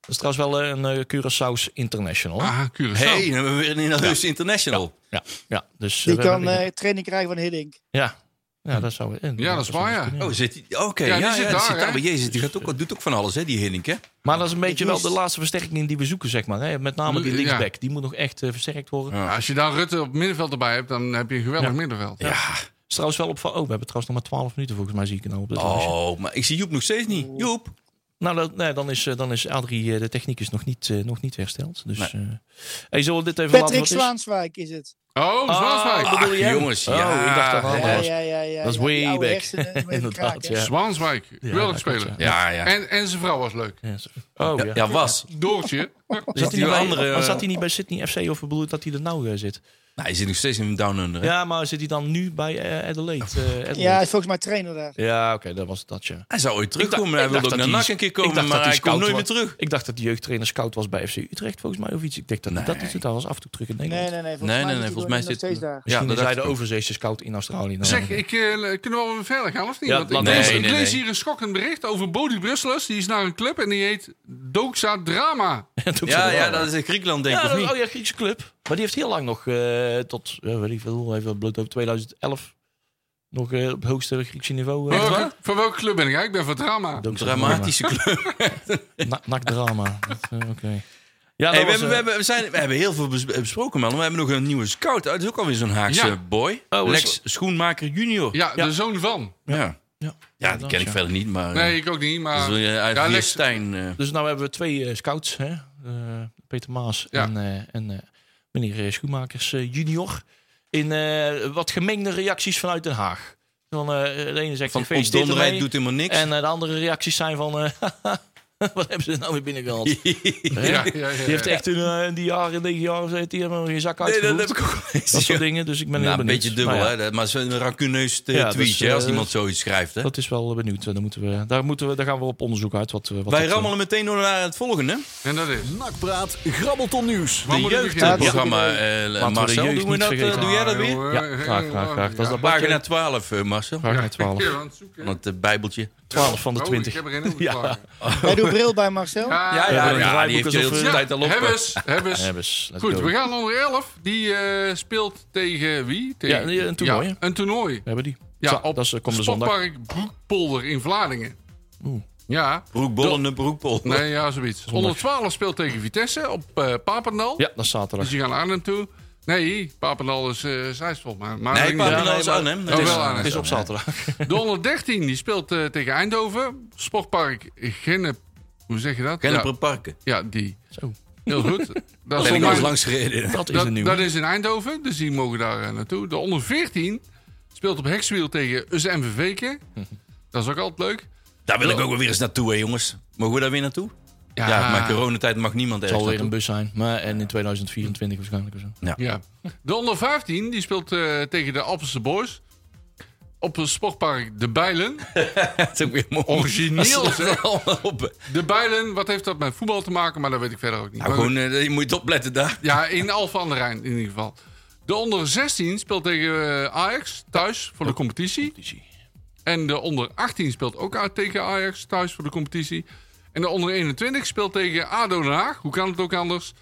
D: Dat is trouwens wel eh, een eh, Curaçao's International. hè?
E: Ah, Curaçao.
C: hey, dan hebben we weer een Inalus International.
D: Ja, ja, dus eh,
F: Die
D: we
F: kan
D: hebben-
F: eh, training krijgen van Hiddink.
D: ja. ja, dat zou eh,
E: Ja, dat is waar, ja.
C: Oh, zit die- Oké,
E: Ja,
C: ja,
E: die
C: ja,
E: zit
C: die
E: daar,
C: zit
E: hè?
C: daar. Maar Jezus, die gaat ook, doet ook van alles, hè, die Hinnik, hè?
D: Maar dat is een beetje wel
F: moest-
D: de laatste versterking die we zoeken, zeg maar. Hè? Met name die
E: Ja.
D: linksback. Die moet nog echt eh, versterkt worden.
E: Ja, Als je daar Rutte op middenveld erbij hebt, dan heb je een geweldig
D: Ja.
E: middenveld.
C: Ja.
D: Is trouwens wel op... Oh, we hebben trouwens nog maar 12 minuten volgens mij, zie ik nou op dit lijstje.
C: Oh, maar ik zie Joep nog steeds
D: Oh.
C: niet. Joep.
D: Nou, dat- nee, dan is, eh, dan is Adrie, eh, de techniek is nog niet, eh, nog niet hersteld. Dus eh hey, zullen we dit even laten
F: Patrick
D: wat het is?
F: Zwaanswijk is het.
E: Oh, Zwaanswijk.
D: Ah, bedoel
C: Ach,
D: jij?
C: jongens,
D: Oh,
C: ja.
D: ik dacht dat al.
C: Ja,
F: Ja,
D: was-
F: ja, ja, ja,
D: dat is
F: ja, die
D: way
F: oude
D: back.
F: hersenen, weet ik
D: Inderdaad,
F: kraken.
D: ja.
E: Zwaanswijk. Geweldig
D: dat klopt,
E: speler.
D: ja.
C: Ja, ja.
E: En, en zijn vrouw was leuk.
D: Ja, zo- Oh, ja.
C: Ja, was. Nou,
E: Doortje.
D: Zat hij, niet
C: die
D: bij,
C: andere-
D: maar zat hij niet bij Sydney FC of bedoel je dat hij er nou eh, zit?
C: Nou, hij zit nog steeds in Down Under. hè?
D: Ja, maar zit hij dan nu bij eh, Adelaide? eh, Adelaide?
F: Ja, hij is volgens mij trainer daar.
D: Ja, oké, dat was dat, ja.
C: Hij zou ooit
D: Ik
C: terugkomen.
D: dacht-
C: Hij
D: ik
C: wilde
D: dacht
C: ook
D: dat
C: naar
D: hij-
C: NAC een keer
D: ik
C: komen,
D: dacht dat
C: maar
D: hij
C: hij komt
D: scout
C: nooit meer
D: was.
C: terug.
D: Ik dacht dat de jeugdtrainer scout was bij FC Utrecht, volgens mij, of iets. Ik dacht dat dat
C: Nee.
D: is het al was af en toe terug in Nederland.
F: Nee, nee, nee. Volgens
C: Nee,
F: mij,
C: nee, nee.
F: zit hij
C: Volgens
F: gewoon
C: mij
F: nog
C: zit...
F: steeds daar.
C: Ja,
D: Misschien
C: dat
D: is hij
C: dacht
D: de
C: ik ook.
D: overzeese scout in Australië. Nou,
E: Zeg, ik, eh, kunnen we wel weer verder gaan of niet?
D: Ja,
E: Want ik
D: laat-
E: lees,
C: nee,
E: ik
C: nee,
E: lees
C: nee.
E: hier een schokkend bericht over Bodie Brusselers. Die is naar een club en die heet Doxa Drama.
D: Dat doet
C: Ja,
D: ze
C: ja,
D: wel.
C: dat is in Griekenland, denk
D: Ja,
C: ik, of
D: dat-
C: niet?
D: Oh ja, Griekse club. Maar die heeft heel lang nog, eh, tot, eh, weet ik veel, even bloot over 2011, nog eh, op het hoogste Griekse niveau. eh,
E: Van
D: gedaan.
E: welke, van welke club ben ik? Ja, ik ben van Drama.
D: Dat
C: Een
D: ook zo'n
C: dramatische club.
D: drama. Na- Nakdrama. Dat, eh, Oké. Ja, dat
C: Hey, we,
D: was,
C: hebben, we,
D: eh,
C: hebben, we, zijn, we hebben heel veel bes- eh, besproken, man. We hebben nog een nieuwe scout. uit. Dat is ook alweer zo'n Haagse
E: Ja.
C: boy.
D: Oh, is-
C: Lex Schoenmaker junior.
E: Ja,
D: Ja.
E: de zoon van.
C: Ja.
D: ja.
C: Ja, die ken ik
D: Ja.
C: verder niet, maar...
E: Nee, ik ook niet, maar...
C: uit
E: Ja,
C: ja,
E: Lex-
C: Stijn. eh,
D: Dus nou hebben we twee eh, scouts, hè? Eh, Peter Maas
E: Ja.
D: en, eh, en eh, meneer eh, Schoenmakers eh, junior. In eh, wat gemengde reacties vanuit Den Haag. Van, eh, de ene zegt
C: van
D: gefeliciteerd
C: Donderheid
D: ermee.
C: doet helemaal niks.
D: En eh, de andere reacties zijn van... eh, wat hebben ze nou weer binnengehaald? Hè?
E: Ja, ja, ja, ja.
D: Die heeft echt in, eh, in die jaren, negen jaar, heeft die helemaal geen zak
C: nee,
D: uitgevoerd.
C: dat heb ik ook gelezen,
D: dat soort
C: ja.
D: dingen, dus ik ben
C: Nou,
D: heel
C: een
D: benieuwd.
C: beetje dubbel,
D: Maar ja,
C: hè? Dat- Maar zo'n racuneus eh,
D: Ja, dat
C: tweetje,
D: is,
C: hè, als
D: eh,
C: iemand zoiets schrijft. Hè?
D: Dat is wel eh, benieuwd. Dan moeten we, daar, moeten we, daar gaan we op onderzoek uit. Wat, eh, wat
C: Wij
D: dat, eh,
C: rammelen meteen door naar het volgende.
E: En dat is...
B: Nakpraat, grabbelton nieuws.
E: Waar
C: De
E: moet ik beginnen? Ah,
C: jeugdprogramma, eh
D: de
C: Marcel,
D: jeugd
C: doen we
D: niet
C: dat, eh,
D: vergeten.
C: doe jij dat weer?
E: jongen,
D: Ja, graag, graag, graag.
E: eh,
D: Dat is dat blad-
C: Pagina 12, eh, Marcel.
D: Pagina 12.
E: Ja, aan het zoeken.
C: Van het eh, bijbeltje.
D: 12 van de
E: Oh,
D: 20.
E: ik heb er geen over
D: Ja.
E: geslagen.
F: Hij doet bril bij Marcel.
E: Ja,
D: ja, ja,
C: die heeft
D: draaiboek
C: je de
D: alsof,
C: hele
D: eh,
C: tijd al op.
E: hebben ze, hebben ze.
D: Hebbes, let's
E: Goed,
D: go.
E: we gaan onder 11. Die eh, speelt tegen wie? Tegen,
D: Ja, een toernooi, hè?
E: een toernooi.
D: We hebben die.
E: Ja,
D: Zo,
E: op
D: dat is, eh, komt de zondag.
E: Sportpark Broekpolder in Vlaardingen.
D: Oeh.
E: Ja,
C: Broekbollende broekpol.
E: nee, ja, zoiets. Onder 12 speelt tegen Vitesse op eh Papendal.
D: Ja, dat is zaterdag.
E: Dus die gaan naar Arnhem toe. Nee, Papendal is eh Zeist maar. maar
C: Nee,
E: ik-
C: Papendal
D: nee,
C: is
D: maar-
C: Arnhem.
E: Oh,
C: Dat is-
E: wel Arnhem.
D: Het is op zaterdag.
E: De onder 13 die speelt eh, tegen Eindhoven. Sportpark Gennep. Hoe zeg je dat?
C: Kenneper Parken.
E: Ja, ja, die.
D: Zo,
E: Heel goed. Daar
C: Ben ik
E: stond
C: nog eens
E: mijn-
C: langs gereden.
D: dat is
E: Dat,
D: een nieuwe.
E: dat is in Eindhoven, dus die mogen daar eh, naartoe. De onder 14 speelt op Hekswiel tegen Usse MVV'ke. Dat is ook altijd leuk.
C: Daar wil ik ook wel weer eens naartoe, hè, jongens. Mogen we daar weer naartoe? Ja, maar coronatijd mag niemand
D: Het
C: ergens
D: zal weer een
C: naartoe.
D: bus zijn. Maar, en in 2024 waarschijnlijk of zo.
E: ja. De onder 15 die speelt eh, tegen de Appelse Boys. Op het sportpark De Bijlen.
C: Dat is ook weer mooi.
E: Origineel,
C: Als ze
E: zeg.
C: dat allemaal
D: Nou,
C: op-
E: De Bijlen, wat heeft dat met voetbal te maken? Maar dat weet ik verder ook niet.
C: Nou,
E: Maar
C: gewoon, eh, je moet opletten daar.
E: Ja, in Alfa aan de Rijn in ieder geval. De onder 16 speelt tegen eh, Ajax thuis voor de competitie. En de onder 18 speelt ook uit tegen Ajax thuis voor de competitie. En de onder 21 speelt tegen ADO Den Haag. Hoe kan het ook anders?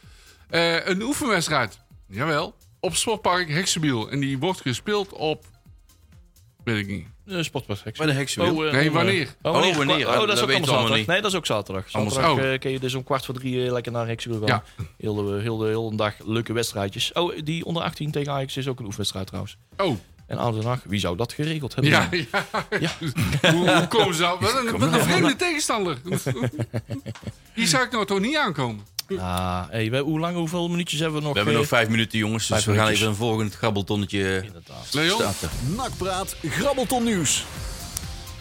E: Eh, een oefenwedstrijd. Jawel. Op Sportpark Heksenbiel. En die wordt gespeeld op... Weet ik niet.
D: Uh, Sportpark.
C: Bij de heksen.
D: Oh, eh,
E: Nee,
D: om, eh,
E: wanneer?
D: Oh, wanneer?
C: Oh, wanneer?
D: Oh, dat,
C: Dat
D: is
C: weten we
D: ook allemaal
C: allemaal
D: zaterdag.
C: niet.
D: Nee, dat is ook zaterdag.
C: Allemaal
D: Zaterdag
E: zaterdag.
D: eh, kun je dus om kwart voor drie eh, lekker naar Hexagon gaan.
E: Ja.
D: Heel de, heel, de, heel de dag leuke wedstrijdjes. Oh, die onder 18 tegen Ajax is ook een oefenwedstrijd trouwens.
E: Oh,
D: En oude dag, wie zou dat geregeld hebben?
E: ja. ja. hoe, hoe komen ze nou? Wat een, wat een vreemde tegenstander. Die zou ik nou toch niet aankomen.
D: Ah, hey, we- hoe lang, hoeveel minuutjes hebben we nog?
C: We hebben nog vijf minuten, jongens. Dus
D: Vijf
C: we gaan
D: minuutjes.
C: even een volgend grabbeltonnetje eh,
E: Leon?
C: starten.
B: Nakpraat, grabbelton nieuws.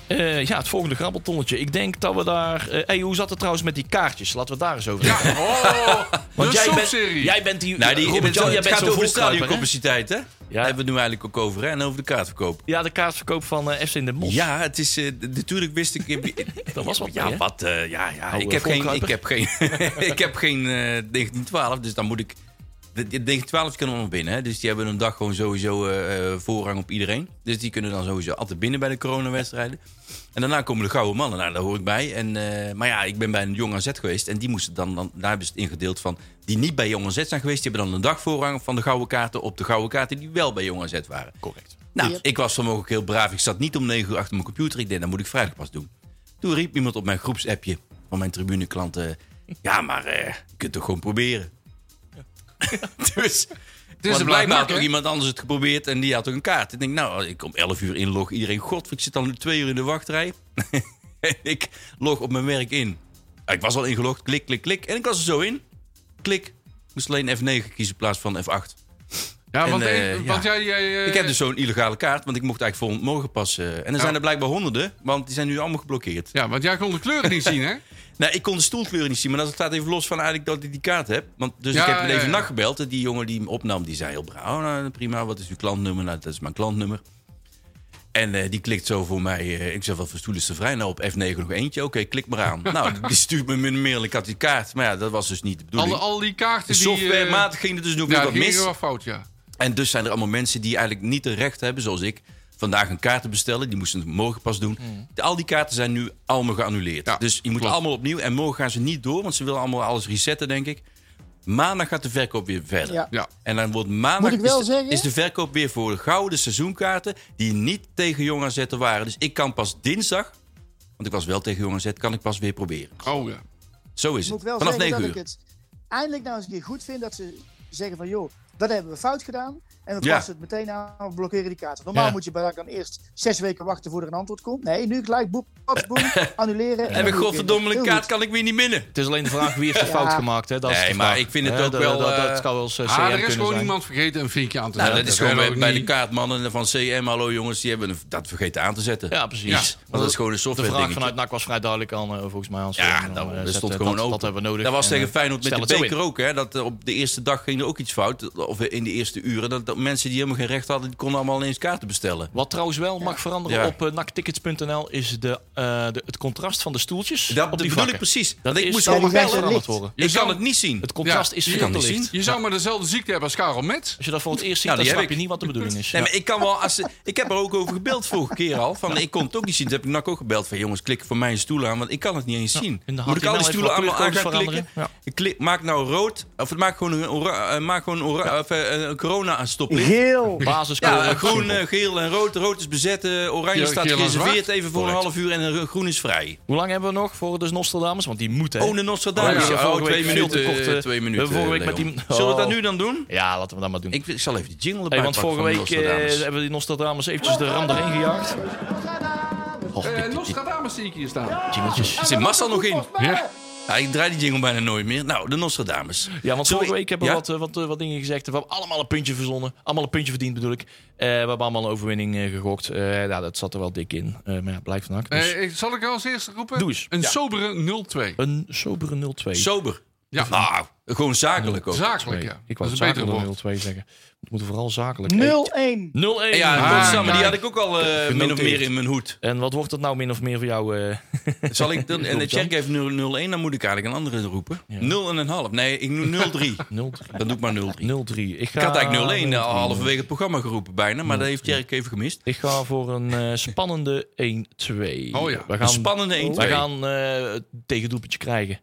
D: Eh, ja, het volgende grabbeltonnetje. Ik denk dat we daar... eh, hey, hoe zat het trouwens met die kaartjes? Laten we het daar eens over
E: Ja,
D: hebben.
E: oh, de
D: jij bent,
E: soapserie.
D: jij bent die...
C: Nou, die,
D: Robert
C: het,
D: Jan,
C: het
D: jij bent
C: gaat
D: zo'n
C: over de
D: volkruiper, hè?
C: stadioncapaciteit, hè? Daar hebben we het nu eigenlijk ook over, hè? En over de kaartverkoop.
D: Ja, de kaartverkoop van eh, FC in de Mos.
C: Ja, het is... eh, d- natuurlijk wist ik... eh,
D: Dat was wat
C: Ja,
D: mee, hè?
C: wat... eh, ja, ja.
D: Oude
C: Ik heb, geen, ik
D: volkruiper.
C: heb geen... ik heb geen eh, 1912, dus dan moet ik... Ik denk 12 kunnen we nog binnen. Hè? Dus die hebben een dag gewoon sowieso eh, eh, voorrang op iedereen. Dus die kunnen dan sowieso altijd binnen bij de coronawedstrijden. En daarna komen de gouden mannen. Nou, daar hoor ik bij. En, eh, maar ja, ik ben bij een jong AZ geweest. En die moesten dan, dan, daar hebben ze het ingedeeld van... die niet bij jong AZ zijn geweest... die hebben dan een dag voorrang van de gouden kaarten... op de gouden kaarten die wel bij jong AZ waren.
D: Correct.
C: Nou,
F: Ja.
C: ik was vanmorgen ook heel braaf. Ik zat niet om 9 uur achter mijn computer. Ik denk, dat moet ik vrijdag pas doen. Toen riep iemand op mijn groepsappje van mijn tribuneklanten... Ja, maar eh, je kunt toch gewoon proberen. dus...
E: is
C: Dus
E: een
C: blijkbaar had
E: hè?
C: ook iemand anders het geprobeerd en die had ook een kaart. Ik denk, nou, als ik om 11 uur inlog. Iedereen, god, ik zit al nu twee uur in de wachtrij. en ik log op mijn werk in. Ik was al ingelogd, klik, klik, klik. En ik was er zo in. Klik. Moest alleen F9 kiezen in plaats van F8.
E: Ja, want,
C: En,
E: eh,
C: eh,
E: want
C: ja.
E: jij... jij eh,
C: Ik heb dus zo'n illegale kaart, want ik mocht eigenlijk volgend morgen pas. eh, en er zijn er blijkbaar honderden, want die zijn nu allemaal geblokkeerd.
E: Ja, want jij kon de kleuren niet zien, hè?
C: Nou, ik kon de stoelkleuren niet zien, maar dat staat even los van eigenlijk dat ik die kaart heb. Want, dus
E: Ja,
C: ik heb
E: ja,
C: even
E: ja.
C: nacht gebeld. En die jongen die hem opnam, die zei heel braaf. Oh, nou, prima, wat is uw klantnummer? Nou, dat is mijn klantnummer. En eh, die klikt zo voor mij. eh, ik zei, wat voor stoel is er vrij? Nou, op F9 nog eentje. Oké, klik maar aan. nou, die stuurt me min of meer. Ik had die kaart. Maar ja, dat was dus niet de bedoeling.
E: Al, al die kaarten die... eh,
C: Softwarematig ging het dus nog
E: ja,
C: weer wat
E: die gingen
C: mis.
E: wel fout, ja.
C: En dus zijn er allemaal mensen die eigenlijk niet het recht hebben, zoals ik, vandaag een kaart te bestellen. Die moesten het morgen pas doen.
F: Mm.
C: De- Al die kaarten zijn nu allemaal geannuleerd.
E: Ja,
C: dus je moet
E: klopt.
C: allemaal opnieuw. En morgen gaan ze niet door, want ze willen allemaal alles resetten, denk ik. Maandag gaat de verkoop weer verder.
F: Ja.
E: Ja.
C: En dan wordt maandag
F: Moet ik wel
C: is, de,
F: zeggen?
C: is de verkoop weer voor gouden seizoenkaarten die niet tegen Jong AZ te waren. Dus ik kan pas dinsdag, want ik was wel tegen Jong AZ, kan ik pas weer proberen.
E: Oh, ja.
C: Zo is
F: Ik moet
C: het.
F: wel
C: Vanaf
F: zeggen
C: 9
F: dat
C: uur.
F: ik het eindelijk nou eens een keer goed vind dat ze zeggen van joh, dat hebben we fout gedaan. En we
C: Ja.
F: passen het meteen aan, we blokkeren die kaart. Normaal moet je bij dan eerst zes weken wachten voordat er een antwoord komt. Nee, nu gelijk boep, paps, boem, annuleren.
C: Heb ik
F: dan
C: godverdomme een
F: heel
C: kaart,
F: goed.
C: kan ik weer niet winnen.
D: Het is alleen de vraag wie heeft de
F: Ja.
D: fout gemaakt. Hè? Dat is
C: Nee,
D: de
C: maar
D: vraag.
C: ik vind het
D: Hè,
C: ook
D: dat-
C: wel,
D: Dat, dat,
C: eh,
D: kan wel eens eh,
E: Ah,
D: CM
E: er is
D: kunnen
E: gewoon
D: zijn.
E: iemand vergeten een vinkje aan te
C: Nou,
E: zetten.
C: dat, is gewoon bij,
E: ook
C: bij de
E: niet.
C: kaartmannen van CM, hallo jongens, die hebben een- dat vergeten aan te zetten.
D: Ja, precies.
C: Iets. Want dat is gewoon een
D: De
C: software
D: vraag
C: dingetje.
D: vanuit NAC was vrij duidelijk al, eh, volgens mij. Hans.
C: Ja,
D: Eh,
C: dat,
D: eh,
C: dat
D: zet,
C: stond
D: eh,
C: gewoon
D: dat,
C: open.
D: Dat hebben we nodig.
C: Dat was
D: En,
C: tegen
D: eh,
C: Feyenoord met
D: stel
C: de
D: het zo
C: beker
D: in.
C: ook. Hè? Dat, eh, op de eerste dag ging er ook iets fout. Of in de eerste uren. Dat, dat mensen die helemaal geen recht hadden, die konden allemaal ineens kaarten bestellen.
D: Wat trouwens wel mag veranderen
C: Ja.
D: op eh, naktickets.nl is de, eh, de, het contrast van de stoeltjes
C: Dat
D: op die
C: bedoel ik
D: vakken.
C: precies.
D: Dat
C: Want ik
D: is-
C: moest
D: dat
C: gewoon
F: die zijn
C: bellen.
F: er
D: veranderd
F: licht.
D: worden.
C: Ik
E: zou-
C: kan het niet zien.
D: Het contrast
E: Ja,
D: is
C: je
D: veel
C: kan
D: te
C: het
D: licht.
C: zien.
E: Je zou maar dezelfde ziekte hebben als Karel Met.
D: Als je dat voor het eerst ziet,
C: Ja, die heb
D: dan snap je
C: ik.
D: niet wat de bedoeling is.
C: Nee,
D: Ja.
C: maar ik kan wel. Als, ze- ik heb er ook over gebeld vorige keer al. Van, Ik kon het ook niet zien. Dat heb ik Nak ook gebeld. Van jongens, klik voor mij een stoel aan. Want ik kan het niet eens zien.
D: en dan
C: Moet
D: had
C: ik
D: hij
C: al die
D: nou even
C: stoelen
D: wat
C: allemaal aan gaan
D: kleurcodes
C: klikken?
D: veranderen?
C: Ik klik- maak nou rood. Of maak gewoon een, ora- eh, maak gewoon een, ora- of, eh, een corona aan stoplicht.
F: Geel.
D: Basiskleur.
C: Ja, eh, groen, eh, geel en rood. Rood is bezet. eh, oranje
E: Geel-
C: staat
E: geel en
C: gereserveerd
E: zwart.
C: even voor een half uur. En eh, groen is vrij.
D: Hoe lang hebben we nog voor de Nostradamus? Want die moet, hè?
C: Oh, de
D: Ja,
C: Nostradamus.
D: we hebben
C: Oh,
D: vorige
C: twee
D: week veel te
C: minuten.
D: kort, eh,
C: eh, twee
D: we
C: minuten.
D: hebben vorige week met
C: Leon.
D: die-
C: Zullen we dat
D: Oh.
C: nu dan doen?
D: Ja, laten we dat maar doen.
C: Ik, ik zal even de jingle erbij
D: Hey, want
C: pakken
D: vorige
C: van
D: week eh,
C: Nostradamus.
D: hebben we die Nostradamus eventjes de ram erin gejaagd. Och,
E: Eh,
D: dit- dit-
E: Nostradamus zie ik hier staan.
D: jingeltjes.
C: Zit Marcel nog in?
E: Ja.
C: Ja, ik draai die jingle bijna nooit meer. Nou, de Nostradamus.
D: Ja, want
C: Zullen
D: vorige week hebben we
C: Ja?
D: wat, eh, wat, eh, wat dingen gezegd. We hebben allemaal een puntje verzonnen. Allemaal een puntje verdiend bedoel ik. Eh, we hebben allemaal een overwinning eh, gegokt. Eh, ja, dat zat er wel dik in. Eh, maar ja, blijft van hak. Dus
E: Eh, ik- zal ik als eerste roepen?
D: Doe eens.
E: Een
D: Ja.
E: sobere 0-2.
D: Dus een sobere 0-2.
C: Sober.
E: Ja.
C: Nou, gewoon zakelijk ook.
E: Zakelijk,
D: Nee,
E: ja.
D: Ik
E: Dat
D: wou
E: is een betere
D: zakelijk
E: woord.
D: 0-2 zeggen. We moeten vooral zakelijk.
F: 0-1.
D: 0-1.
C: Ja,
E: Ah,
C: godzame,
E: kijk.
C: die had ik ook al eh, min of
D: Genoteerd.
C: meer in mijn hoed.
D: En wat wordt dat nou min of meer voor jou? eh?
C: Zal ik dan, en de
D: Klopt,
C: check heeft 0-1, dan moet ik eigenlijk een andere roepen.
D: Ja.
C: 0 en een half. Nee, ik noem 0-3.
D: 0-3.
C: Dan doe ik maar 0-3.
D: 0-3. Ik ga
C: Ik had eigenlijk 0-1
D: 0-3.
C: al halverwege het programma geroepen bijna, maar dat heeft Jerk even gemist.
D: Ik ga voor een eh, spannende 1-2.
E: Oh ja,
D: we
C: Een
D: gaan,
C: spannende 1-2.
D: Wij gaan eh het tegendoelpuntje krijgen.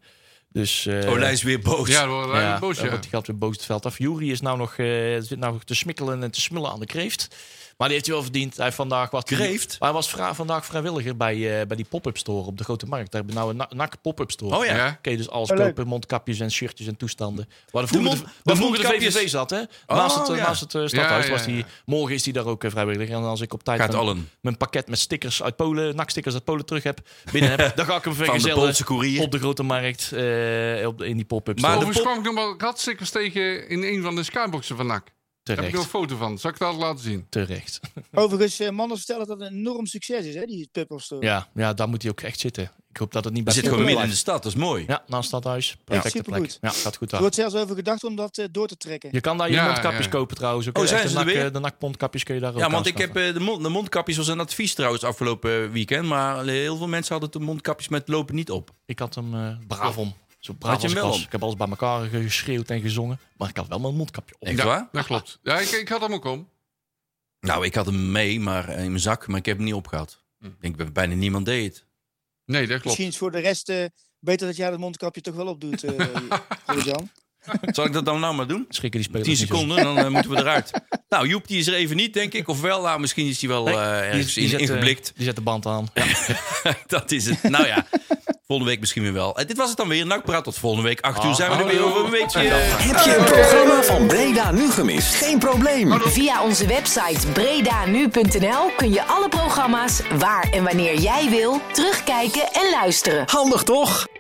D: Dus, eh,
C: Oh, hij is weer boos.
E: Ja, dat wordt een boosje.
D: eh, want die gaat weer boos het veld af. Jury is nou nog, eh, zit nou nog te smikkelen en te smullen aan de kreeft. Maar die heeft hij wel verdiend. Hij heeft vandaag wat
C: Kreeft?
D: Hij was vra- vandaag vrijwilliger bij, eh, bij die pop-up store op de Grote Markt. Daar hebben we nou een na- NAC pop-up store.
C: Oh ja.
E: Ja.
D: Kun je dus alles
F: Oh, leuk.
D: kopen, mondkapjes en shirtjes en toestanden. Waar de vroeger
C: mond-
D: de, waar
C: de
D: vroeger de
C: mondkapjes- Oh,
D: VVV zat, hè? Naast het, eh,
C: ja.
D: naast het eh, stadhuis
E: ja,
D: was
E: ja.
D: die. Morgen is die daar ook eh, vrijwilliger. En als ik op tijd
C: Gaat
D: mijn,
C: allen.
D: mijn pakket met stickers uit Polen, NAC-stickers uit Polen terug heb, binnen heb, dan ga ik hem
C: Van de
D: vergezellen
C: Poolse koerier.
D: op de grote markt eh, op de- in die pop-up
C: Maar
D: store.
E: Overigens
C: de pop-
E: kwam ik nog wel ratstickers tegen in een van de skyboxen van NAC. Daar heb ik nog een
D: terecht.
E: foto van. Zal ik dat laten zien?
D: Terecht.
F: Overigens, eh, mannen vertellen dat het een enorm succes is, hè, die pub store.
D: Ja, ja, daar moet hij ook echt zitten. Ik hoop dat het
C: We
D: niet bij
C: zitten
D: Pop
C: gewoon midden in de stad,
D: blijft.
C: dat is mooi.
D: Ja, naast stadhuis. Perfecte plek.
F: supergoed.
D: Ja, gaat goed
F: Er
D: daar.
F: wordt zelfs over gedacht om dat eh, door te trekken.
D: Je kan daar je
E: Ja,
D: mondkapjes
E: ja.
D: kopen trouwens. Ook
C: Oh,
D: Echt,
C: zijn
D: de
C: ze er
D: nak-
C: weer?
D: eh, De nakpondkapjes kun je daar ook
C: Ja, want ik
D: aanschaffen.
C: heb eh, de, mond, de mondkapjes was een advies trouwens eh, afgelopen weekend. Maar heel veel mensen hadden de mondkapjes met lopen niet op.
D: Ik had hem eh, braaf om. Zo
C: Had
D: braaf
C: je
D: als
C: hem
D: ik
C: wel
D: was.
C: om?
D: Ik heb alles bij elkaar geschreeuwd en gezongen. Maar ik had wel mijn mondkapje op.
C: Echt
E: ja,
C: waar?
E: dat klopt. Ja, ik, ik had hem ook om.
C: Nou, ik had hem mee maar, eh, in mijn zak, maar ik heb hem niet opgehad.
D: Hm.
C: Ik denk, bij- bijna niemand deed het.
E: Nee, dat klopt.
F: Misschien is voor de rest eh, beter dat jij dat mondkapje toch wel opdoet, eh Jan.
C: Zal ik dat dan nou maar doen?
D: Schrikken die spelers
C: 10
D: niet zo.
C: seconden, dan eh, moeten we eruit. Nou, Joep die is er even niet, denk ik. Of wel, nou, misschien is hij wel
D: Nee,
C: eh,
D: Die,
C: ergens
D: die
C: in-
D: zet, eh,
C: ingeblikt.
D: die zet de band aan.
C: dat is het. Nou ja, volgende week misschien weer wel. Eh, dit was het dan weer. Nou, ik praat tot volgende week. 8 uur
D: Ah,
C: zijn we er weer over een beetje.
B: Heb je het programma van Breda nu gemist? Geen probleem.
G: Via onze website bredanu.nl kun je alle programma's waar en wanneer jij wil terugkijken en luisteren.
B: Handig toch?